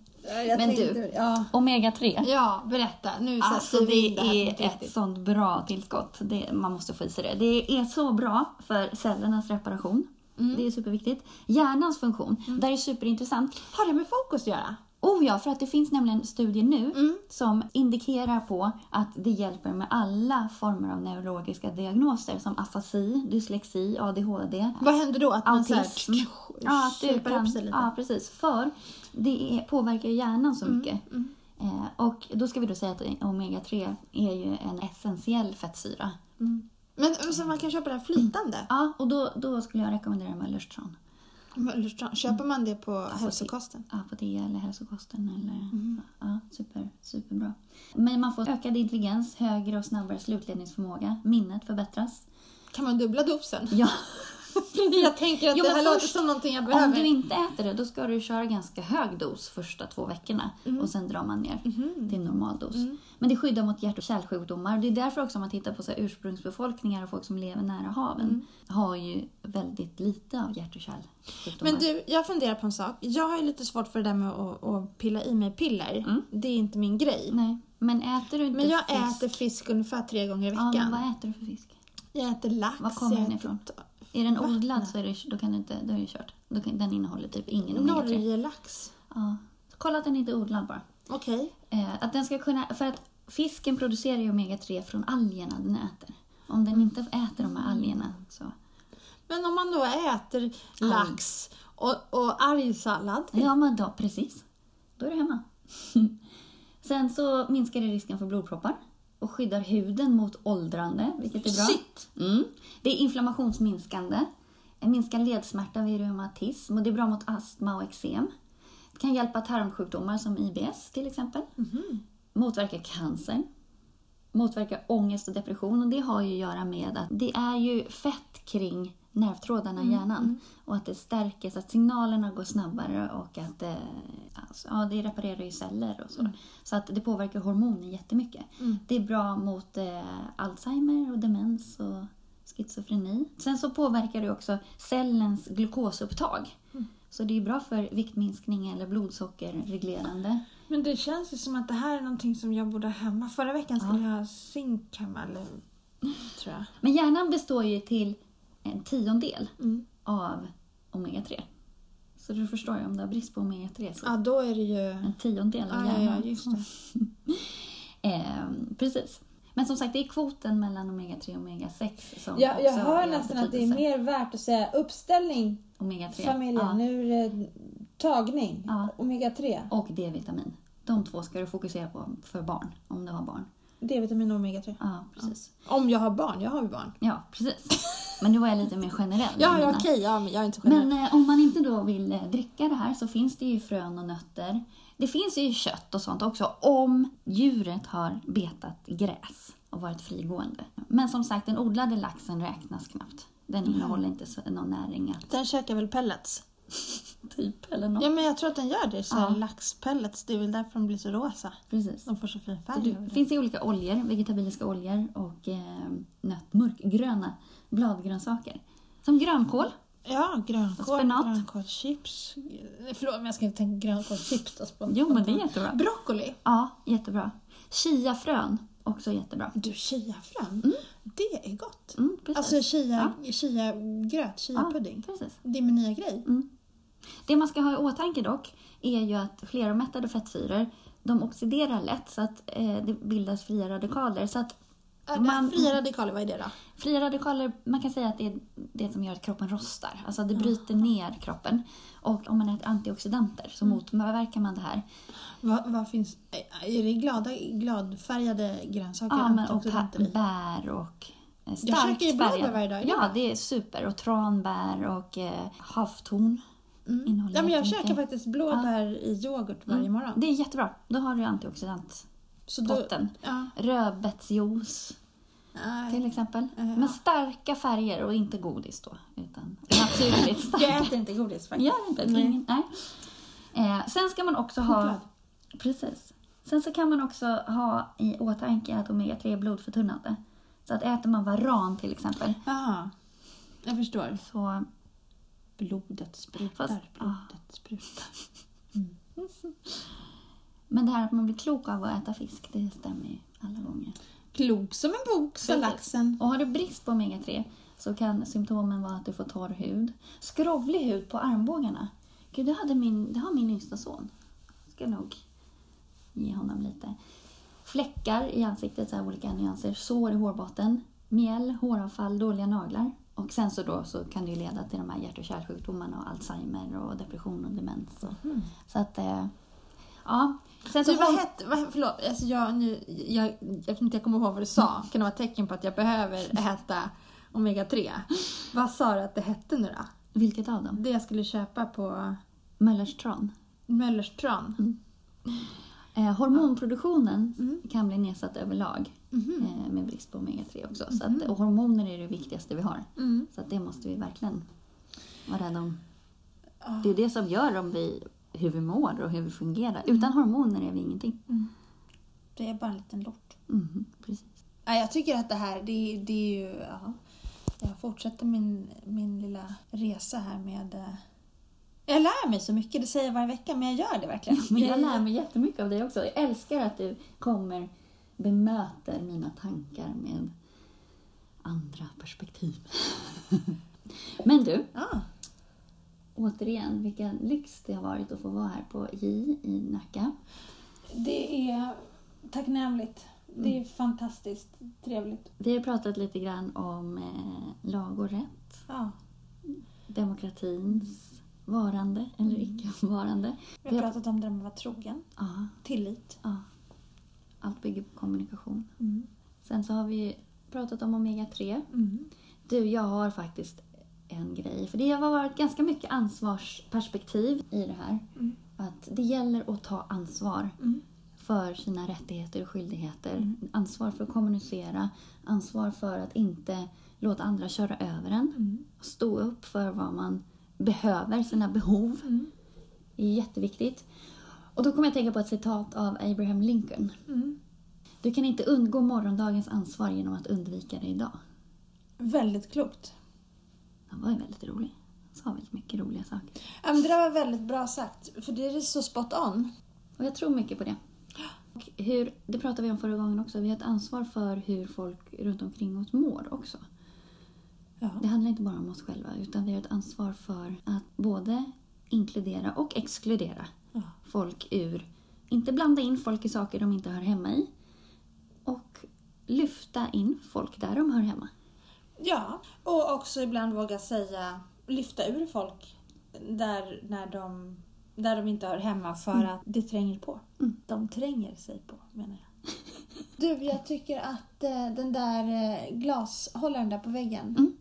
[SPEAKER 1] Jag
[SPEAKER 2] Men tänkte- du-
[SPEAKER 1] Ja.
[SPEAKER 2] Omega 3.
[SPEAKER 1] ja, berätta. Nu
[SPEAKER 2] Alltså
[SPEAKER 1] sätter vi in
[SPEAKER 2] det
[SPEAKER 1] det här på
[SPEAKER 2] är
[SPEAKER 1] riktigt.
[SPEAKER 2] ett sånt bra tillskott. Det, man måste få i sig det. Det är så bra för cellernas Mm. reparation. Det är superviktigt. Hjärnans funktion. Det här är superintressant.
[SPEAKER 1] Har det med fokus att göra?
[SPEAKER 2] Oh ja, för att det finns nämligen studier nu
[SPEAKER 1] Mm.
[SPEAKER 2] som indikerar på att det hjälper med alla former av neurologiska diagnoser som afasi, dyslexi, ADHD.
[SPEAKER 1] Vad händer då? Att man så här,
[SPEAKER 2] Autism.
[SPEAKER 1] ja,
[SPEAKER 2] att du
[SPEAKER 1] upp sig
[SPEAKER 2] kan,
[SPEAKER 1] lite? Mm,
[SPEAKER 2] ja, precis. För det är, påverkar ju hjärnan så mycket. Eh, och då ska vi då säga att omega-3 är ju en essentiell fettsyra.
[SPEAKER 1] Men men så man kan köpa det här flytande?
[SPEAKER 2] Ja, och då, då skulle jag rekommendera Möllerstrand.
[SPEAKER 1] Möllerstrand. Mm. Köper man det på hälsokosten?
[SPEAKER 2] Ja, på det eller hälsokosten eller...
[SPEAKER 1] Mm.
[SPEAKER 2] Ja, super, superbra. Men man får ökad intelligens, högre och snabbare slutledningsförmåga, minnet förbättras.
[SPEAKER 1] Kan man dubbla dosen?
[SPEAKER 2] [laughs] Ja,
[SPEAKER 1] [laughs] Jag tänker att
[SPEAKER 2] Jo,
[SPEAKER 1] det
[SPEAKER 2] men
[SPEAKER 1] här låter
[SPEAKER 2] först-
[SPEAKER 1] som någonting jag
[SPEAKER 2] om
[SPEAKER 1] behöver.
[SPEAKER 2] du inte äter det då ska du köra ganska hög dos första två veckorna
[SPEAKER 1] Mm.
[SPEAKER 2] och sen drar man
[SPEAKER 1] Mhm.
[SPEAKER 2] ner till normal dos. Men det skyddar mot hjärt och kärlsjukdomar. Det är därför också om man tittar på så här ursprungsbefolkningar och folk som lever nära haven
[SPEAKER 1] Mm.
[SPEAKER 2] har ju väldigt lite av hjärt och kärlsjukdomar.
[SPEAKER 1] Men du, jag funderar på en sak. Jag har ju lite svårt för det där med att, att pilla i mig piller. Det är inte min grej.
[SPEAKER 2] Nej, men äter du inte
[SPEAKER 1] Men jag
[SPEAKER 2] fisk?
[SPEAKER 1] äter fisk ungefär tre gånger i
[SPEAKER 2] Ja,
[SPEAKER 1] veckan.
[SPEAKER 2] men vad äter du för fisk?
[SPEAKER 1] Jag äter lax.
[SPEAKER 2] Var kommer
[SPEAKER 1] jag
[SPEAKER 2] den
[SPEAKER 1] äter
[SPEAKER 2] ifrån?
[SPEAKER 1] ta-
[SPEAKER 2] Är den odlad så är det, då kan du inte, då är det kört. Då kan, den innehåller typ ingen omega-3.
[SPEAKER 1] Norgelax.
[SPEAKER 2] Ja. Så kolla att den inte är odlad bara.
[SPEAKER 1] Okej.
[SPEAKER 2] Eh, att den ska kunna, för att fisken producerar ju omega-3 från algerna den äter. Om den inte äter de här algerna så...
[SPEAKER 1] Men om man då äter lax och, och argsallad.
[SPEAKER 2] Ja, men då, precis. Då är du hemma. [laughs] Sen så minskar det risken för blodproppar och skyddar huden mot åldrande, vilket är bra.
[SPEAKER 1] Shit!
[SPEAKER 2] Mm. Det är inflammationsminskande, eh, minskar ledsmärta vid reumatism och det är bra mot astma och eksem. Det kan hjälpa tarmsjukdomar som IBS till exempel. Motverkar cancer. Motverkar ångest och depression och det har ju att göra med att det är ju fett kring nervtrådarna i hjärnan och att det stärker så att signalerna går snabbare och att eh, alltså, ja, det reparerar ju celler och så. Så att det påverkar hormoner jättemycket. Det är bra mot eh, Alzheimer och demens och schizofreni. Sen så påverkar det också cellens glukosupptag. Så det är ju bra för viktminskning eller blodsockerreglerande.
[SPEAKER 1] Men det känns ju som att det här är någonting som jag borde ha hemma. Förra veckan skulle jag ha zink hemma, eller, tror jag.
[SPEAKER 2] Men hjärnan består ju till en tiondel av omega-3. Så du förstår ju om du har brist på omega-3 så
[SPEAKER 1] Ja, då är det ju...
[SPEAKER 2] en tiondel av
[SPEAKER 1] Ja, ja, ja,
[SPEAKER 2] hjärnan.
[SPEAKER 1] just det.
[SPEAKER 2] Ehm, precis. Men som sagt, det är kvoten mellan omega-3 och omega-6 som
[SPEAKER 4] Jag, jag
[SPEAKER 2] också
[SPEAKER 4] hör
[SPEAKER 2] är av
[SPEAKER 4] nästan att det är
[SPEAKER 2] betydelse.
[SPEAKER 4] mer värt att säga uppställning
[SPEAKER 2] omega-3.
[SPEAKER 4] familjen,
[SPEAKER 2] Ja.
[SPEAKER 4] nu är det tagning,
[SPEAKER 2] Ja.
[SPEAKER 4] omega 3,
[SPEAKER 2] Och D-vitamin. De två ska du fokusera på för barn, om du har barn.
[SPEAKER 4] D-vitamin och omega 3.
[SPEAKER 2] Ja, precis.
[SPEAKER 1] Om jag har barn, jag har ju barn.
[SPEAKER 2] Ja, precis. Men nu var jag lite mer generell.
[SPEAKER 1] Ja,
[SPEAKER 2] Jag
[SPEAKER 1] ja
[SPEAKER 2] menar-
[SPEAKER 1] okej, ja, men jag är inte generell.
[SPEAKER 2] Men eh, om man inte då vill eh, dricka det här så finns det ju frön och nötter. Det finns ju kött och sånt också om djuret har betat gräs och varit frigående. Men som sagt, den odlade laxen räknas knappt. Den innehåller inte så- någon näring,
[SPEAKER 1] Den käkar väl pellets?
[SPEAKER 2] typ, eller något.
[SPEAKER 1] Ja, men jag tror att den gör det. Så här
[SPEAKER 2] Ja.
[SPEAKER 1] Laxpellets, det är väl därför de blir så rosa.
[SPEAKER 2] Precis.
[SPEAKER 1] De får så fin
[SPEAKER 2] Så
[SPEAKER 1] färg.
[SPEAKER 2] Det finns i olika oljor, vegetabiliska oljor och eh, nöt, mörkgröna bladgrönsaker. Som grönkål.
[SPEAKER 1] Ja, grönkål,
[SPEAKER 2] Spenat.
[SPEAKER 1] grönkålschips. Eh, Förlåt, men jag ska inte tänka grönkålschips. då, spontant.
[SPEAKER 2] Jo, men det är jättebra.
[SPEAKER 1] Broccoli.
[SPEAKER 2] Ja, jättebra. Chiafrön, också jättebra.
[SPEAKER 1] Du, chiafrön. Det är gott.
[SPEAKER 2] Mm, precis.
[SPEAKER 1] Alltså chia, chiagröt, chiapudding.
[SPEAKER 2] Ja, precis.
[SPEAKER 1] Det är min nya grej.
[SPEAKER 2] Det man ska ha i åtanke dock är ju att fleromättade fettsyror de oxiderar lätt så att eh, det bildas fria radikaler. Så att
[SPEAKER 1] Man...
[SPEAKER 2] Man-
[SPEAKER 1] Fria radikaler, vad är det då?
[SPEAKER 2] fria radikaler, man kan säga att det är det som gör att kroppen rostar. Alltså det bryter ner kroppen. Och om man äter antioxidanter så
[SPEAKER 1] Mm.
[SPEAKER 2] motverkar man det här.
[SPEAKER 1] Vad, vad finns? Är det glada, gladfärgade grönsaker?
[SPEAKER 2] Ja, men och
[SPEAKER 1] antioxidanter
[SPEAKER 2] pa-
[SPEAKER 1] i?
[SPEAKER 2] bär och eh,
[SPEAKER 1] Jag
[SPEAKER 2] starkt
[SPEAKER 1] käkar ju blåbär
[SPEAKER 2] färgade.
[SPEAKER 1] varje dag.
[SPEAKER 2] Ja, det är super. Och tranbär och eh, havtorn
[SPEAKER 5] Mm.
[SPEAKER 2] innehåller
[SPEAKER 1] Ja, men jag
[SPEAKER 2] jättemycket.
[SPEAKER 1] käkar faktiskt blåbär i yoghurt
[SPEAKER 2] Mm.
[SPEAKER 1] varje morgon.
[SPEAKER 2] Det är jättebra. Då har du antioxidant.
[SPEAKER 1] Så då-
[SPEAKER 2] potten.
[SPEAKER 1] Ja.
[SPEAKER 2] Rödbetsjuice
[SPEAKER 1] Nej.
[SPEAKER 2] till exempel. Men starka färger och inte godis då. Utan naturligt starka.
[SPEAKER 1] Jag äter inte godis faktiskt.
[SPEAKER 2] Gör inte det? Ingen, nej. Eh, sen ska man också ha...
[SPEAKER 1] Choklad.
[SPEAKER 2] Precis. Sen så kan man också ha i åtanke att omega-3 är blodförtunnande. Så att äter man varan till exempel
[SPEAKER 1] Jaha. Jag förstår.
[SPEAKER 2] så...
[SPEAKER 1] Blodet sprutar,
[SPEAKER 2] Fast-
[SPEAKER 5] ah.
[SPEAKER 1] blodet sprutar.
[SPEAKER 2] Men det här att man blir klok av att äta fisk, det stämmer ju alla gånger.
[SPEAKER 1] Klok som en bok, sa
[SPEAKER 2] Precis.
[SPEAKER 1] laxen.
[SPEAKER 2] Och har du brist på omega-3 så kan symptomen vara att du får torr hud, skrovlig hud på armbågarna. Gud, det, hade min, det har min yngsta son. ska nog ge honom lite. Fläckar i ansiktet, så här olika nyanser. Sår i hårbotten. Mjäll, håravfall, dåliga naglar. Och sen så, då, så kan det ju leda till de här hjärt och kärlsjukdomarna och Alzheimer och depression och demens. Och, Så att, eh, ja. Sen så
[SPEAKER 5] Mhm. Du, vad
[SPEAKER 2] hon-
[SPEAKER 5] hette, vad, förlåt, alltså jag, nu, jag, eftersom inte jag kommer ihåg vad du sa, kan det vara ett tecken på att jag behöver äta omega-3? Vad sa du att det hette nu då?
[SPEAKER 2] vilket av dem?
[SPEAKER 5] Det jag skulle köpa på
[SPEAKER 2] Möllers tran.
[SPEAKER 5] Möllers tran.
[SPEAKER 2] Eh, hormonproduktionen kan bli nedsatt överlag eh, med brist på omega-3 också. Så att, och hormoner är det viktigaste vi har. Så att det måste vi verkligen vara rädda om. Det är det som gör om vi, hur vi mår och hur vi fungerar. Utan hormoner är vi ingenting.
[SPEAKER 5] Det är bara en liten lort.
[SPEAKER 2] Mhm, precis.
[SPEAKER 5] Ja, jag tycker att det här, det, det är ju... Ja, jag fortsätter min, min lilla resa här med... eh, Jag lär mig så mycket, det säger jag varje vecka, men jag gör det verkligen.
[SPEAKER 2] [laughs] Men jag lär mig jättemycket av dig också. Jag älskar att du kommer bemöter mina tankar med andra perspektiv. [laughs] Men du,
[SPEAKER 5] Ja.
[SPEAKER 2] återigen, vilken lyx det har varit att få vara här på J i Nacka.
[SPEAKER 5] Det är tacknämligt. Det är fantastiskt trevligt.
[SPEAKER 2] Vi har pratat lite grann om eh, lag och rätt,
[SPEAKER 5] Ja.
[SPEAKER 2] demokratins varande eller icke-varande.
[SPEAKER 5] Vi har pratat om det där med att vara trogen.
[SPEAKER 2] Ja,
[SPEAKER 5] Tillit.
[SPEAKER 2] ja. Allt bygger på kommunikation.
[SPEAKER 5] Mm.
[SPEAKER 2] Sen så har vi pratat om omega-3. Du, jag har faktiskt en grej. För det har varit ganska mycket ansvarsperspektiv i det här. Att det gäller att ta ansvar för sina rättigheter och skyldigheter. Ansvar för att kommunicera. Ansvar för att inte låta andra köra över en.
[SPEAKER 5] Mm.
[SPEAKER 2] Stå upp för vad man behöver, sina behov. Det är jätteviktigt. Och då kommer jag att tänka på ett citat av Abraham Lincoln.
[SPEAKER 5] Mm.
[SPEAKER 2] Du kan inte undgå morgondagens ansvar genom att undvika det idag.
[SPEAKER 5] Väldigt klokt.
[SPEAKER 2] Han var ju väldigt rolig. Han sa väldigt mycket roliga saker.
[SPEAKER 5] Ja, men det där var väldigt bra sagt, för det är så spot on.
[SPEAKER 2] Och jag tror mycket på det. Och hur, det pratade vi om förra gången också. Vi har ett ansvar för hur folk runt omkring oss mår också.
[SPEAKER 5] Ja.
[SPEAKER 2] Det handlar inte bara om oss själva utan vi har ett ansvar för att både inkludera och exkludera
[SPEAKER 5] Ja.
[SPEAKER 2] folk ur... Inte blanda in folk i saker de inte hör hemma i och lyfta in folk där de hör hemma.
[SPEAKER 5] Ja, och också ibland våga säga, lyfta ur folk där, när de, där de inte hör hemma för att det tränger på. De tränger sig på, menar jag. Mm. [laughs] Du, jag tycker att eh, den där eh, glashållaren där på väggen,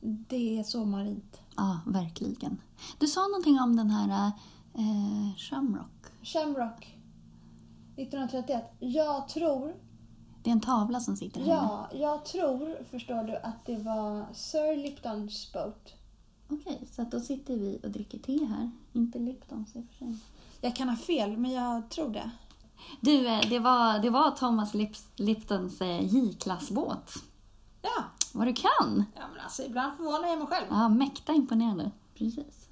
[SPEAKER 5] det är så marint.
[SPEAKER 2] Ja, verkligen. Du sa någonting om den här eh, Shamrock.
[SPEAKER 5] Shamrock 1931. Jag tror
[SPEAKER 2] Det är en tavla som sitter här inne.
[SPEAKER 5] Ja, jag tror, förstår du, att det var Sir Liptons boat.
[SPEAKER 2] Okej, så att då sitter vi och dricker te här. Inte Liptons i och för sig.
[SPEAKER 5] Jag kan ha fel, men jag tror det.
[SPEAKER 2] Du, eh, det var, det var Thomas Lips, Liptons eh, J-klassbåt.
[SPEAKER 5] Ja,
[SPEAKER 2] Vad du kan!
[SPEAKER 5] ja men alltså ibland förvånar jag mig själv.
[SPEAKER 2] Ja, mäkta imponerande. Precis.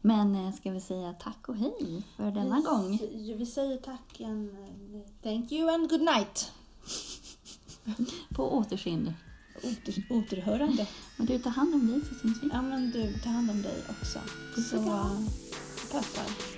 [SPEAKER 2] Men eh, ska vi säga tack och hej för denna gång?
[SPEAKER 5] Vi, vi säger tack eh, igen. Thank you and good night.
[SPEAKER 2] På återseende.
[SPEAKER 5] Åter, återhörande.
[SPEAKER 2] Men du, ta hand om dig så syns vi.
[SPEAKER 5] Ja, men du, ta hand om dig också.
[SPEAKER 2] Puss och
[SPEAKER 5] Så,
[SPEAKER 2] kram.
[SPEAKER 5] Puss, puss.